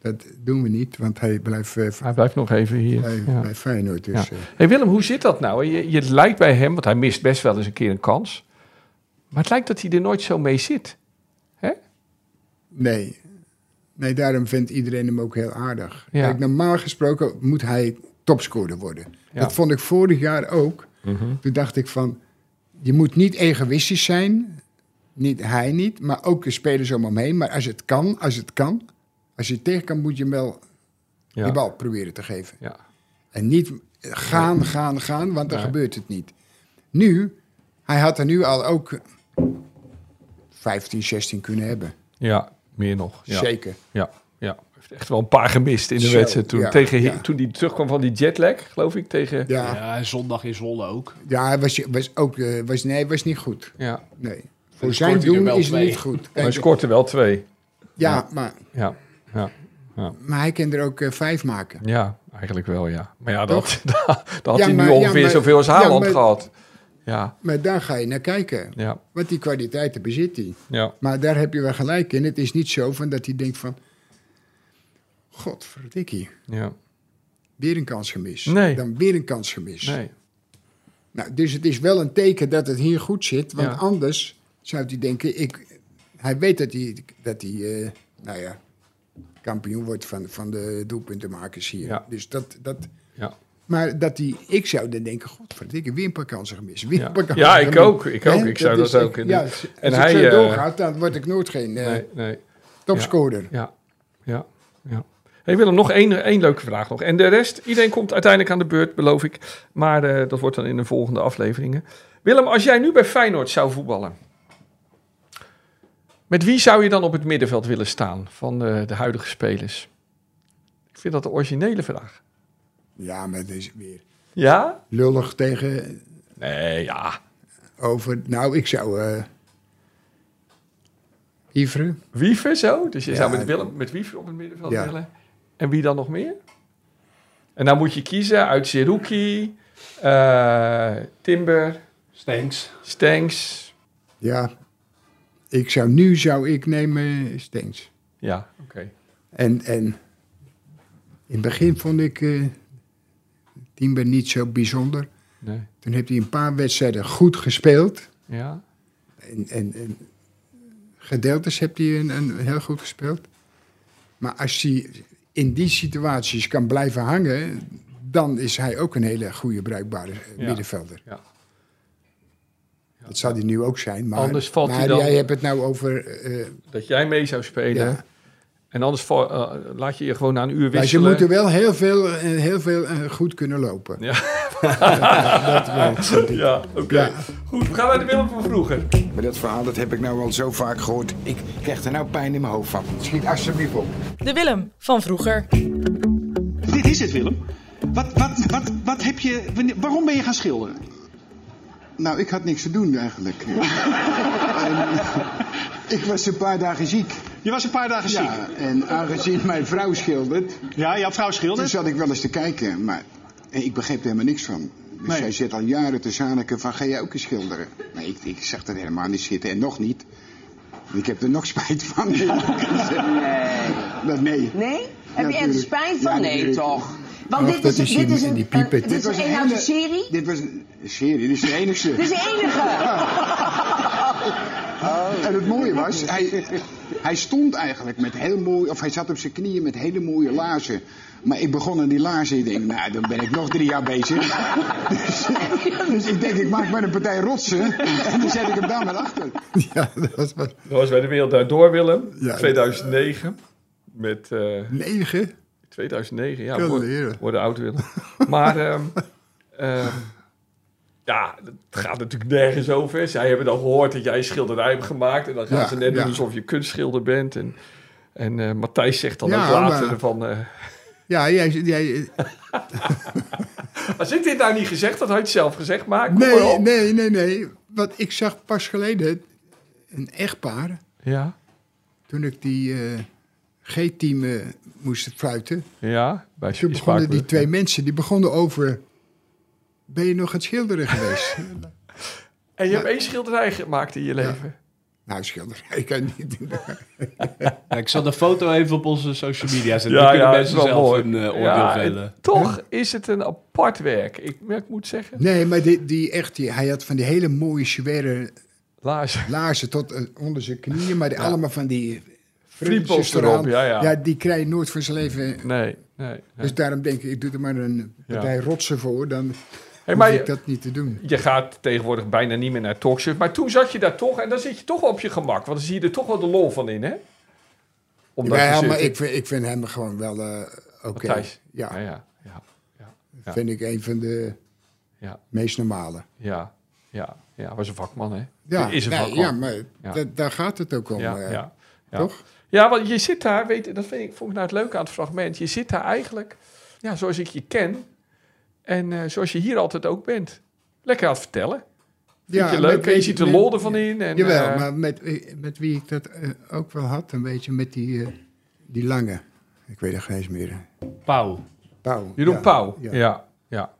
B: dat doen we niet, want hij blijft eh,
C: Hij blijft nog even hier.
B: bij,
C: Ja.
B: bij Feyenoord. Dus, eh,
C: Hey Willem, hoe zit dat nou? Je, je lijkt bij hem, want hij mist best wel eens een keer een kans. Maar het lijkt dat hij er nooit zo mee zit.
B: Nee. Nee, daarom vindt iedereen hem ook heel aardig.
C: Ja.
B: Kijk, normaal gesproken moet hij topscorer worden.
C: Ja. Mhm.
B: Dat vond ik vorig jaar ook. Toen dacht ik van, je moet niet egoïstisch zijn. Niet hij niet, maar ook de spelers om hem heen. Maar als het kan, als het kan. Als je het tegen kan, moet je hem wel
C: Ja.
B: die bal proberen te geven.
C: Ja.
B: En niet gaan, gaan, gaan, want dan
C: Nee.
B: gebeurt het niet. Nu, hij had er nu al ook 15, 16 kunnen hebben.
C: ja, meer nog. Ja.
B: Zeker.
C: Ja, ja. Hij heeft echt wel een paar gemist in de
B: Zo,
C: wedstrijd. Toen,
B: ja,
C: tegen,
B: ja.
C: toen hij terugkwam van die jetlag, geloof ik. Tegen,
B: Ja.
E: Ja, en zondag in Zwolle ook.
B: Ja, hij was, was ook, eh, was, nee, was niet goed.
C: ja.
B: Nee.
E: hij
B: Voor zijn
E: er
B: doen
E: wel
B: is het
E: twee.
B: niet goed.
C: Maar hij
B: Kijk,
C: scoort er wel twee.
B: ja, maar,
C: Ja, ja,
B: maar hij kan er ook eh, vijf maken.
C: ja eigenlijk wel, ja. Maar ja, dat,
B: Toch?
C: dat, had
B: Ja,
C: hij
B: maar-
C: nu
B: ja,
C: ongeveer
B: maar-
C: zoveel als
B: ja,
C: Haaland
B: maar-
C: gehad. Ja,
B: Maar daar ga je naar kijken.
C: ja,
B: Want die kwaliteiten bezit hij.
C: ja.
B: Maar daar heb je wel gelijk in. Het is niet zo van dat hij denkt van... Godverdikkie,
C: ja.
B: weer een kans gemist.
C: Nee.
B: Dan weer een kans gemist.
C: Nee,
B: Nou, dus het is wel een teken dat het hier goed zit. Want
C: Ja.
B: anders zou hij denken... Ik, hij weet dat hij, dat hij eh, nou ja, kampioen wordt van, van de doelpuntenmakers hier.
C: Ja.
B: Dus dat, dat,
C: ja.
B: Maar dat die, ik zou dan denken, godverdikke, weer een paar kansen gemist. Weer
C: Ja.
B: een paar kansen
C: Ja, ik
B: gemist.
C: ook, ik ook.
B: Hè?
C: Ik zou dat
B: is-
C: ook in-
B: Ja, als
C: En
B: en
C: hij,
B: hij, zo
C: eh,
B: doorgaat, dan word ik nooit geen eh,
C: Nee, nee.
B: topscorer.
C: Ja, ja, ja. Hey Willem, nog één, één leuke vraag nog. En de rest, iedereen komt uiteindelijk aan de beurt, beloof ik. Maar eh, dat wordt dan in de volgende afleveringen. Willem, als jij nu bij Feyenoord zou voetballen... met wie zou je dan op het middenveld willen staan van eh, de huidige spelers? Ik vind dat een originele vraag.
B: Ja. maar het is weer
C: Ja?
B: lullig tegen
C: Nee, ja.
B: over... Nou, ik zou... eh Ivre,
C: Wiever zo? Dus je
B: Ja.
C: zou met, Willem, met Wiever op het middenveld
B: Ja.
C: willen. En wie dan nog meer? En dan moet je kiezen uit Zerouki, eh, Timber,
E: Stanks.
C: Stanks.
B: Ja, ik zou, nu zou ik nemen Steens.
C: Ja, oké.
B: En, en in het begin vond ik eh Timber niet zo bijzonder.
C: Nee.
B: Toen heeft hij een paar wedstrijden goed gespeeld.
C: Ja.
B: En, en, en gedeeltes heeft hij een, een heel goed gespeeld. Maar als hij in die situaties kan blijven hangen... dan is hij ook een hele goede bruikbare eh,
C: Ja.
B: middenvelder.
C: Ja.
B: Dat zou hij nu ook zijn. Maar,
C: Anders valt hij
B: maar
C: dan-
B: jij hebt het nou over... eh,
C: Dat jij mee zou spelen.
B: Ja.
C: En anders val- eh, laat je je gewoon na een uur
B: maar ze
C: wisselen.
B: moeten wel heel veel, eh, heel veel eh, goed kunnen lopen.
C: Ja.
B: dat wel.
C: Ja, oké.
B: Ja.
C: Goed, we gaan naar de Willem van vroeger.
F: Maar dat verhaal dat heb ik nou al zo vaak gehoord. Ik krijg er nou pijn in mijn hoofd van. Schiet alsjeblieft op.
D: De Willem van vroeger.
G: Dit is het, Willem. Wat, wat, wat, wat heb je. wanneer- waarom ben je gaan schilderen?
H: Nou, ik had niks te doen eigenlijk. En,
F: eh,
H: ik was een paar dagen ziek.
G: Je was een paar dagen ziek.
H: Ja, en aangezien mijn vrouw schildert,
G: Ja, jouw vrouw
H: toen
G: schildert.
H: zat ik wel eens te kijken, maar ik begreep er helemaal niks van. Dus
G: Nee.
H: zij zit al jaren te zaniken van, ga jij ook eens schilderen? Nee, ik, ik zag dat helemaal niet zitten en nog niet. Ik heb er nog spijt van.
I: Nee.
H: Dat nee.
I: Nee? Heb je echt
H: tuurlijk.
I: spijt
H: Ja,
I: van? Nee,
H: natuurlijk.
I: toch?
B: Ach,
I: Want dit
B: dat
I: is, een-
B: is die-
I: dit is een,
B: die
I: een,
B: piepen.
I: dit
B: Dit
I: is een Engelse serie.
H: Dit was een serie, dit is de enigste.
I: Dit is de enige.
H: En het mooie was, hij, hij stond eigenlijk met heel mooi, of hij zat op zijn knieën met hele mooie laarzen. Maar ik begon aan die laarzen. Ik denk, nou, dan ben ik nog drie jaar bezig. Dus, dus ik denk, ik maak maar een partij rotsen. En dan zet ik hem daar maar achter.
B: Ja, dat was wat.
C: Dat was bij de Wereld Draait Door, Willem.
B: Ja.
C: 2009. Met eh,
B: Negen?
C: 2009, ja.
B: Kunnen
C: Worden
B: leren.
C: word oud, Willem. Maar ehm, ehm, ja, het gaat natuurlijk nergens over. Zij hebben dan gehoord dat jij een schilderij hebt gemaakt. En dan gaan
B: Ja,
C: ze net
B: ja.
C: doen alsof je kunstschilder bent. En, en eh, Matthijs zegt dan
B: Ja,
C: ook later
B: maar-
C: van... eh,
B: Ja, jij, jij,
C: als ik dit nou niet gezegd had, had je het zelf gezegd. Maar kom maar
B: nee,
C: op.
B: nee, nee, nee. Want ik zag pas geleden een echtpaar,
C: Ja,
B: toen ik die eh, G-team eh, moest fluiten.
C: ja. Bij
B: Toen begonnen die
C: Spakenburg.
B: twee mensen, die begonnen over... Ben je nog aan het schilderen geweest?
C: En je hebt één schilderij gemaakt in je leven.
B: nou, schilderij kan niet doen.
E: Ja, ik zal de foto even op onze social media zetten.
C: Ja,
E: Dan kunnen
C: ja,
E: mensen
C: het is wel mooi.
E: zelf hun eh, oordeel
C: Ja,
E: vellen.
C: en toch is het een apart werk. Ik, ik moet zeggen.
B: Nee, maar die, die echt, die, hij had van die hele mooie, zware
C: Laars.
B: laarzen tot eh, onder zijn knieën. Maar die, allemaal van die...
C: Friepels
B: frutjes
C: erop,
B: eraan.
C: ja, ja.
B: Ja, die krijg je nooit voor zijn leven
C: Nee, nee. nee.
B: Dus daarom denk ik, ik doe er maar een partij rotsen voor, dan
C: Hey,
B: hoef
C: maar
B: ik
C: je,
B: dat niet te doen.
C: je gaat tegenwoordig bijna niet meer naar talkshows. Maar toen zat je daar toch en dan zit je toch wel op je gemak. Want dan zie je er toch wel de lol van in, hè? Om daar
B: Ja,
C: te
B: maar
C: zitten.
B: ik vind, ik vind hem gewoon wel eh, oké.
C: Matthijs. Ja,
B: Ja,
C: ja, ja, ja.
B: vind ik een van de
C: Ja.
B: meest normale.
C: ja, ja, ja. Was een vakman, hè?
B: Ja,
C: is een
B: nee,
C: vakman.
B: ja maar
C: Ja.
B: da- daar gaat het ook om.
C: ja,
B: eh,
C: ja, ja.
B: Toch?
C: Ja, want je zit daar, weet, je, dat vind ik, vond ik nou het leuke aan het fragment. Je zit daar eigenlijk, ja, zoals ik je ken en eh, zoals je hier altijd ook bent. Lekker aan het vertellen. Vind je leuk
B: met-
C: en je ziet de
B: met-
C: lol ervan in. En,
B: Jawel,
C: eh,
B: maar met, met wie ik dat eh, ook wel had, een beetje met die, eh, die lange. Ik weet er geen eens meer.
E: Pauw.
B: Pauw.
C: Jeroen
B: ja,
C: Pauw. Ja,
B: Ja.
C: ja, ja.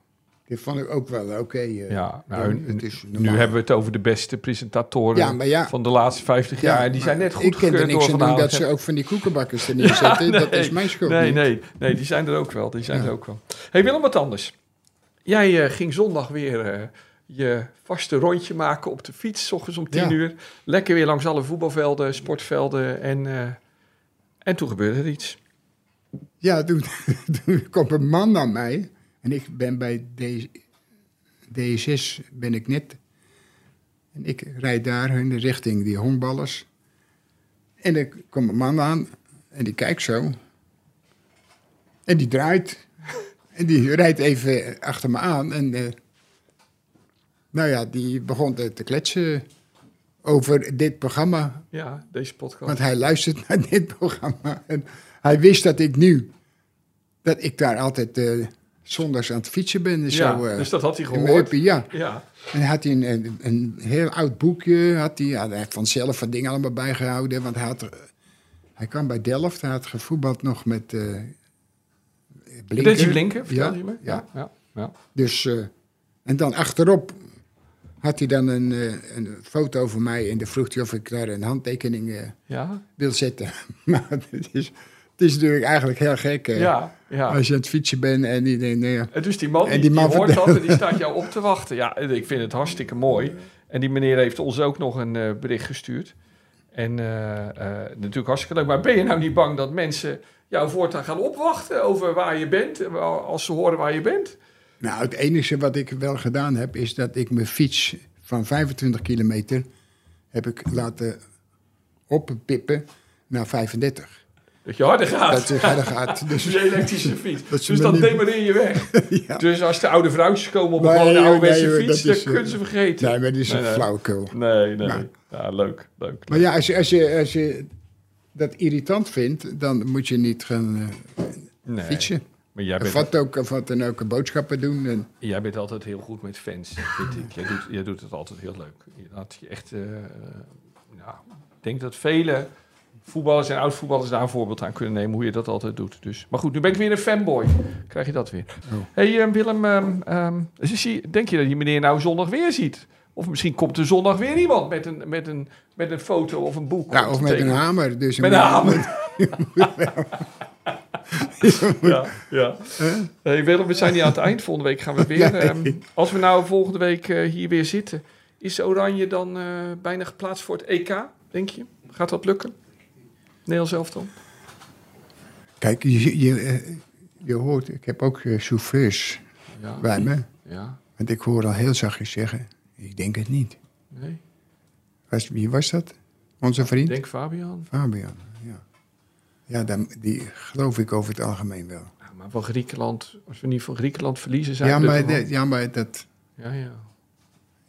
B: Die vond ik ook wel oké. eh,
C: Nou,
B: dan- het is
C: nu
B: normaal.
C: hebben we het over de beste presentatoren
B: Ja, maar ja.
C: van de laatste 50 jaar. En die
B: maar
C: zijn net goed
B: Ik ken er niks aan
C: door
B: doen
C: Van
B: dat
C: Halen.
B: ze ook van die koekenbakkers er neerzetten.
C: Nee,
B: dat is mijn schuld
C: Nee,
B: niet.
C: nee, nee, die zijn er ook wel. Die zijn er ook wel. hey, Willem, wat anders. Jij eh, ging zondag weer eh, je vaste rondje maken op de fiets, s ochtends om tien
B: Ja.
C: uur. Lekker weer langs alle voetbalvelden, sportvelden. En, eh, en toen gebeurde er iets.
B: Ja, toen, toen kwam een man naar mij. En ik ben bij D- D6 ben ik net. En ik rijd daar hun richting die honkballers. En er komt een man aan. En die kijkt zo. En die draait. En die rijdt even achter me aan. En eh, nou ja, die begon te te kletsen over dit programma.
C: Ja, deze podcast.
B: Want hij luistert naar dit programma. En hij wist dat ik nu, dat ik daar altijd eh, zondags aan het fietsen ben. en
C: ja,
B: zo, eh,
C: dus dat had hij
B: in mijn
C: gehoord.
B: uppie, ja.
C: Ja,
B: En had hij een, een, een heel oud boekje, had hij, ja, hij heeft vanzelf van dingen allemaal bijgehouden. Want hij, had, er- hij kwam bij Delft, hij had gevoetbald nog met eh Blinker.
C: dit is Blinken, vertel
B: Ja,
C: je me.
B: ja.
C: ja, ja.
B: Dus, eh, en dan achterop had hij dan een, eh, een foto van mij en dan vroeg hij of ik daar een handtekening eh,
C: Ja,
B: wil zetten. maar het is, het is natuurlijk eigenlijk heel gek. eh,
C: ja, ja.
B: Als je aan het fietsen bent en die denkt, nee, ja,
C: En dus die man,
B: En
C: die,
B: die man
C: die hoort
B: vertelt-
C: dat en die staat jou op te wachten. Ja, en ik vind het hartstikke mooi. En die meneer heeft ons ook nog een eh, bericht gestuurd. En eh, eh, natuurlijk hartstikke leuk. Maar ben je nou niet bang dat mensen jou voortaan gaan opwachten over waar je bent? eh, Als ze horen waar je bent?
B: Nou, het enige wat ik wel gedaan heb, is dat ik mijn fiets van 25 kilometer heb ik laten oppippen naar 35.
C: Dat je harder gaat.
B: Dat ze verder gaat. Dus,
C: Dus je elektrische fiets.
B: Dat ze
C: dus
B: me
C: dan
B: niet-
C: demareer je weg.
B: ja.
C: Dus als de oude vrouwtjes komen op een
B: Nee,
C: gewone
B: joh,
C: ouderwetse
B: nee, joh,
C: fiets,
B: dat
C: dan
B: is, eh,
C: kunnen ze vergeten.
B: Nee, maar die is
C: Nee,
B: een
C: nee.
B: flauwekul.
C: Nee, nee.
B: Nou.
C: Ja, leuk, leuk.
B: Maar ja, als je, als, je, als je dat irritant vindt, dan moet je niet gaan eh,
C: Nee.
B: fietsen.
C: Maar jij
B: Of
C: bent,
B: wat, ook, of wat dan ook, boodschappen doen. En,
C: jij bent altijd heel goed met fans, vind ik. Jij doet, jij doet het altijd heel leuk. Je laat je echt... eh, eh, nou, ik denk dat vele voetballers en oud-voetballers daar een voorbeeld aan kunnen nemen... hoe je dat altijd doet. Dus. Maar goed, nu ben ik weer een fanboy. Krijg je dat weer.
B: Oh.
C: hey, eh, Willem, ehm, ehm, zie- denk je dat je meneer nou zondag weer ziet? Of misschien komt er zondag weer iemand met een, met een, met een foto of een boek.
B: nou,
C: om
B: of
C: te
B: met een
C: tekenen.
B: hamer. Dus
C: Met een hamer. ja, ja. Hey Willem, we zijn niet aan het eind. Volgende week gaan we weer. ehm, als we nou volgende week eh, hier weer zitten, is Oranje dan eh, bijna geplaatst voor het EK, denk je? Gaat dat lukken? Nederlands zelf dan?
B: Kijk, je, je, eh, je hoort, ik heb ook eh, chauffeurs
C: Ja.
B: bij me.
C: Ja,
B: Want ik hoor al heel zachtjes zeggen, ik denk het niet.
C: nee.
B: Was, wie was dat? Onze
C: Ik
B: vriend?
C: denk Fabian.
B: Fabian, ja. Ja, dan, die geloof ik over het algemeen wel.
C: Ja, maar van Griekenland, als we niet van Griekenland verliezen, zijn
B: Ja
C: we er
B: maar,
C: nog wel.
B: dat- ja, maar dat,
C: Ja, ja.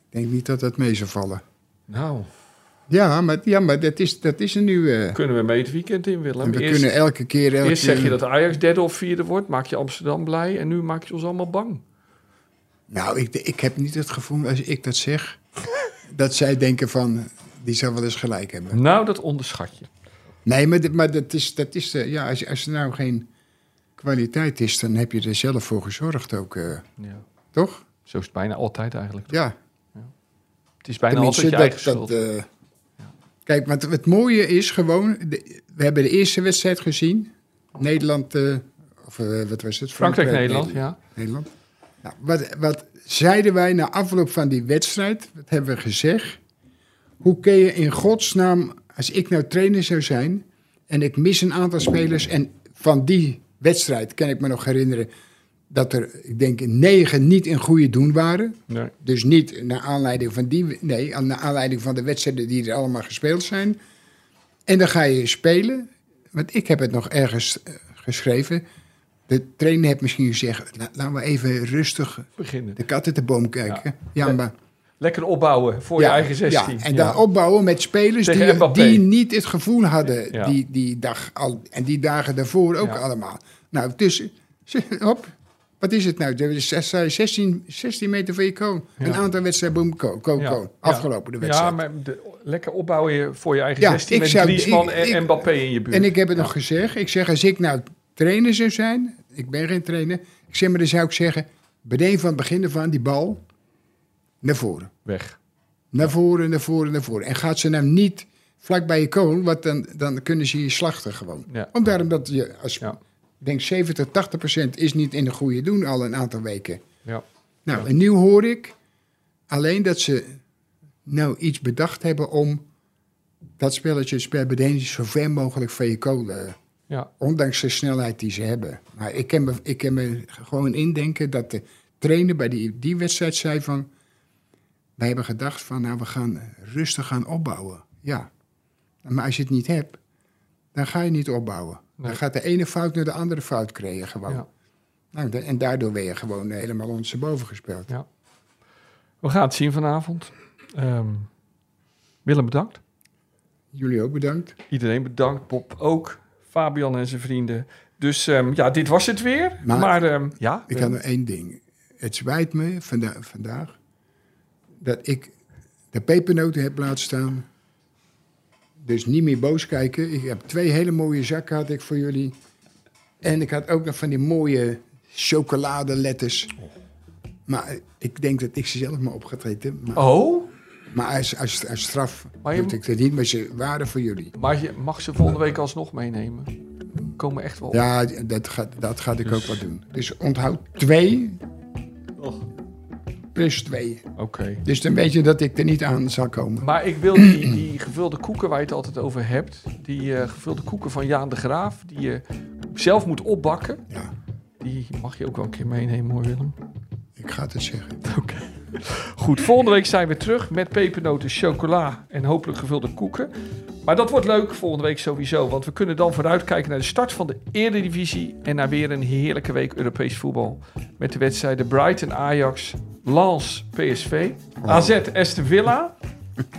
B: ik denk niet dat dat mee zou vallen.
C: Nou,
B: Ja, maar, ja, maar dat, is, dat is er nu... eh,
C: kunnen we mee het weekend in, Willem?
B: en we
C: Eerst-
B: kunnen elke keer... Elke,
C: Eerst zeg je dat Ajax derde of vierde wordt, maak je Amsterdam blij en nu maak je ons allemaal bang.
B: Nou, ik, ik heb niet het gevoel, als ik dat zeg... dat zij denken van, die zou wel eens gelijk hebben.
C: Nou, dat onderschat je.
B: Nee, maar, dit- maar dat is... Dat is eh, ja, als, als er nou geen kwaliteit is, dan heb je er zelf voor gezorgd ook, eh,
C: Ja.
B: toch?
C: Zo is het bijna altijd eigenlijk.
B: Ja.
C: Het is bijna
B: Tenminste,
C: altijd je eigen
B: dat-
C: schuld.
B: dat, eh, Kijk, want het mooie is gewoon... de- we hebben de eerste wedstrijd gezien. Nederland, eh, of eh, wat was het?
C: Oh. Frankrijk-Nederland, ja.
B: Nederland. Nou, wat, wat zeiden wij na afloop van die wedstrijd? Wat hebben we gezegd? Hoe kun je in godsnaam, als ik nou trainer zou zijn... en ik mis een aantal spelers... en van die wedstrijd kan ik me nog herinneren... dat er, ik denk, negen niet in goede doen waren...
C: Nee.
B: Dus niet naar aanleiding van die, nee, aan- naar aanleiding van de wedstrijden die er allemaal gespeeld zijn. En dan ga je spelen. Want ik heb het nog ergens eh, geschreven. De trainer heeft misschien gezegd: "La- laten we even rustig
C: Beginnen.
B: de kat uit de boom kijken. Ja, maar,
C: Lekker opbouwen voor
B: ja,
C: je eigen 16.
B: ja, en dan opbouwen met spelers
C: Tegen
B: die,
C: Mbappé.
B: die niet het gevoel hadden
C: Ja.
B: die, die dag al, en die dagen daarvoor ook
C: Ja.
B: allemaal. Nou, tussen, hop, wat is het nou? Er is zes- 16, 16 meter van je koon.
C: Ja.
B: Een aantal wedstrijden, boom, koon, koon,
C: Ja.
B: koon.
C: Ja.
B: Afgelopen de wedstrijd.
C: Ja, maar de- lekker opbouwen je voor je eigen
B: Ja,
C: 16
B: ik
C: met
B: zou-
C: Griezmann
B: ik-
C: en
B: ik-
C: Mbappé in je buurt.
B: En ik heb het
C: Ja.
B: nog gezegd. Ik zeg, als ik nou trainer zou zijn, ik ben geen trainer. Ik zeg, maar dan zou ik zeggen, bedenk van het begin ervan die bal naar voren.
C: Weg.
B: Naar voren, naar voren, naar voren. En gaat ze hem niet vlak bij je koon, want dan, dan kunnen ze je slachten gewoon.
C: Ja.
B: Om daarom dat je, als,
C: Ja.
B: ik denk 70, 80 procent is niet in de goede doen al een aantal weken.
C: Ja.
B: Nou, en nu hoor ik alleen dat ze nou iets bedacht hebben om dat spelletje, het spel bedenken, zo ver mogelijk van je kolen. eh,
C: Ja.
B: Ondanks de snelheid die ze hebben. Maar ik kan me, ik kan me gewoon indenken dat de trainer bij die, die wedstrijd zei van... Wij hebben gedacht van, nou, we gaan rustig gaan opbouwen. Ja. Maar als je het niet hebt, dan ga je niet opbouwen.
C: Nee.
B: Dan gaat de ene fout naar de andere fout creëren gewoon.
C: Ja.
B: Nou, da- en daardoor ben je gewoon helemaal ondersteboven gespeeld.
C: Ja. We gaan het zien vanavond. Ehm, Willem, bedankt.
B: Jullie ook bedankt.
C: Iedereen bedankt. Bob ook. Fabian en zijn vrienden. Dus ehm, ja, dit was het weer. Maar,
B: Maar-
C: ehm, ja,
B: Ik had nog één ding. Het spijt me vanda- vandaag dat ik de pepernoten heb laten staan. Dus niet meer boos kijken. Ik heb twee hele mooie zakken had ik voor jullie. En ik had ook nog van die mooie chocoladeletters. Maar eh, ik denk dat ik ze zelf maar op ga treden. Maar,
C: Oh,
B: maar als, als, als straf
C: Maar je
B: doe
C: moet-
B: ik dat niet, maar ze waren voor jullie.
C: maar je mag ze volgende week alsnog meenemen. Komen echt wel.
B: Ja, dat gaat, dat gaat ik ook wel doen. Dus onthoud twee plus twee.
C: Oké.
B: Dus dan weet je dat ik er niet aan zal komen.
C: Maar ik wil die, die gevulde koeken waar je het altijd over hebt. Die eh, gevulde koeken van Jaan de Graaf. Die je zelf moet opbakken.
B: Ja.
C: Die mag je ook wel een keer meenemen hoor Willem.
B: Ik ga het zeggen.
C: Oké. Goed, volgende week zijn we terug met pepernoten, chocola en hopelijk gevulde koeken. Maar dat wordt leuk volgende week sowieso. Want we kunnen dan vooruitkijken naar de start van de Eredivisie. En naar weer een heerlijke week Europees voetbal. Met de wedstrijden Brighton, Ajax, Lens, PSV, AZ, Aston Villa.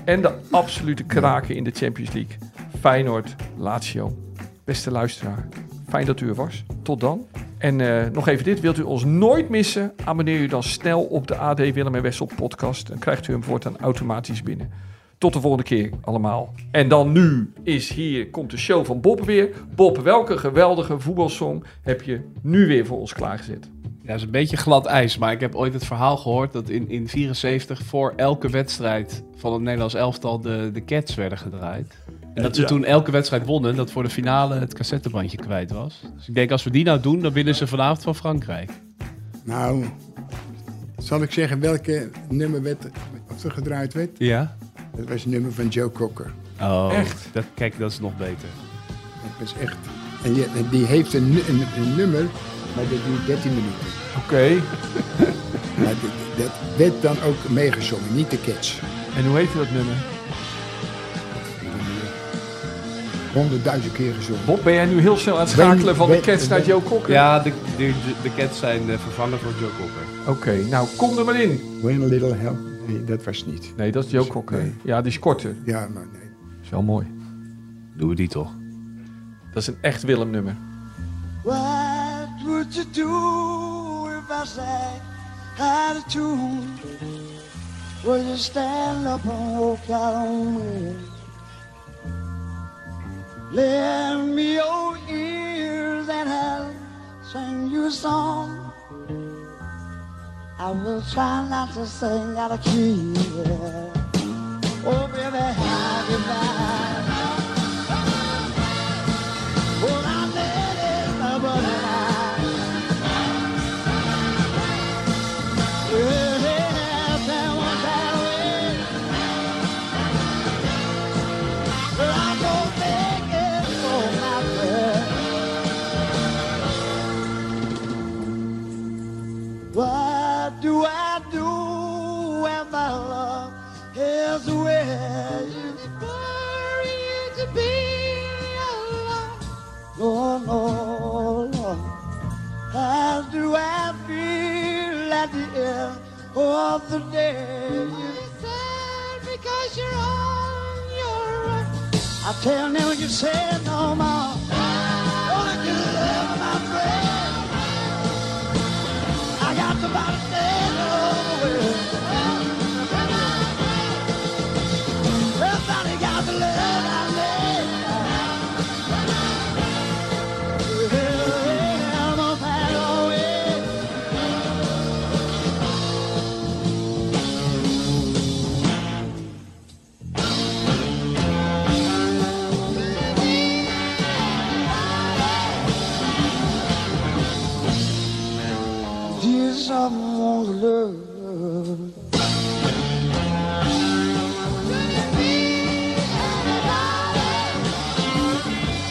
C: En de absolute kraken in de Champions League. Feyenoord, Lazio. Beste luisteraar, fijn dat u er was. Tot dan. En eh, nog even dit, wilt u ons nooit missen? Abonneer u dan snel op de AD Willem en Wessel podcast. Dan krijgt u hem voortaan automatisch binnen. Tot de volgende keer allemaal. En dan nu is hier, komt de show van Bob weer. Bob, welke geweldige voetbalsong heb je nu weer voor ons klaargezet?
E: Ja, dat is een beetje glad ijs, maar ik heb ooit het verhaal gehoord dat in 1974 voor elke wedstrijd van het Nederlands elftal de, de Cats werden gedraaid. En dat ze toen elke wedstrijd wonnen, dat voor de finale het cassettebandje kwijt was. Dus ik denk, als we die nou doen, dan winnen ze vanavond van Frankrijk.
B: Nou, zal ik zeggen welke nummer werd, of er gedraaid werd?
E: Ja?
B: Dat was het nummer van Joe Cocker.
E: Oh,
C: Echt?
E: Dat, kijk, dat is nog beter.
B: Dat was echt... En je- en die heeft een, nu- een, een nummer, maar dat duurt 13 minuten.
C: Oké.
B: Maar dat, dat werd dan ook meegezongen, niet de catch.
C: En hoe heet dat nummer?
B: 100.000 keer gezongen.
C: Bob, ben jij nu heel snel aan het schakelen van de Cats naar Joe Cocker?
E: Ja, de, de, de Cats zijn eh, vervangen voor Joe Cocker.
C: Oké, nou kom er maar in.
B: When a little help... Nee, dat was het niet.
C: Nee, dat is Joe Cocker. Ja, die is korter.
B: Ja, maar nee.
C: is wel mooi.
E: Doen we die toch?
C: Dat is een echt Willem nummer.
J: What would you do if I sang out of tune? Would you stand up and walk out on me? Lend me your ears and I'll sing you a song. I will try not to sing out of key. yeah. Oh, baby, how you like? Well, I met it, but I. Yes, that was that way. But I don't think it's for my friend. What do I do when my love is where you for you to be alone? No, no, no. How do I feel at the end of the day? You're sad because you're on your own. I tell them you say no more. Only you love my friend. I got the bottom end of the world. Everybody got the love I need. Well, Dear someone to love.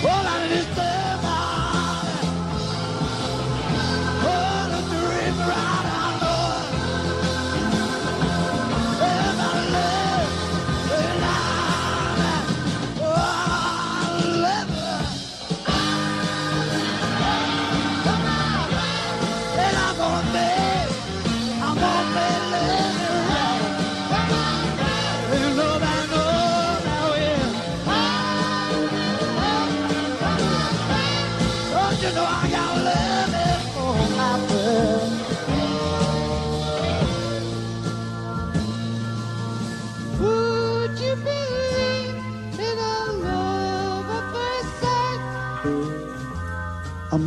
J: Well, I deserve all. Well, it's the river out I know. And I live in love. Oh, I live. Come on. And I'm gonna be- I'm gonna be living right. And nobody knows how it is. Don't you know I got love it for my friend? Would you believe in a love at first sight? I'm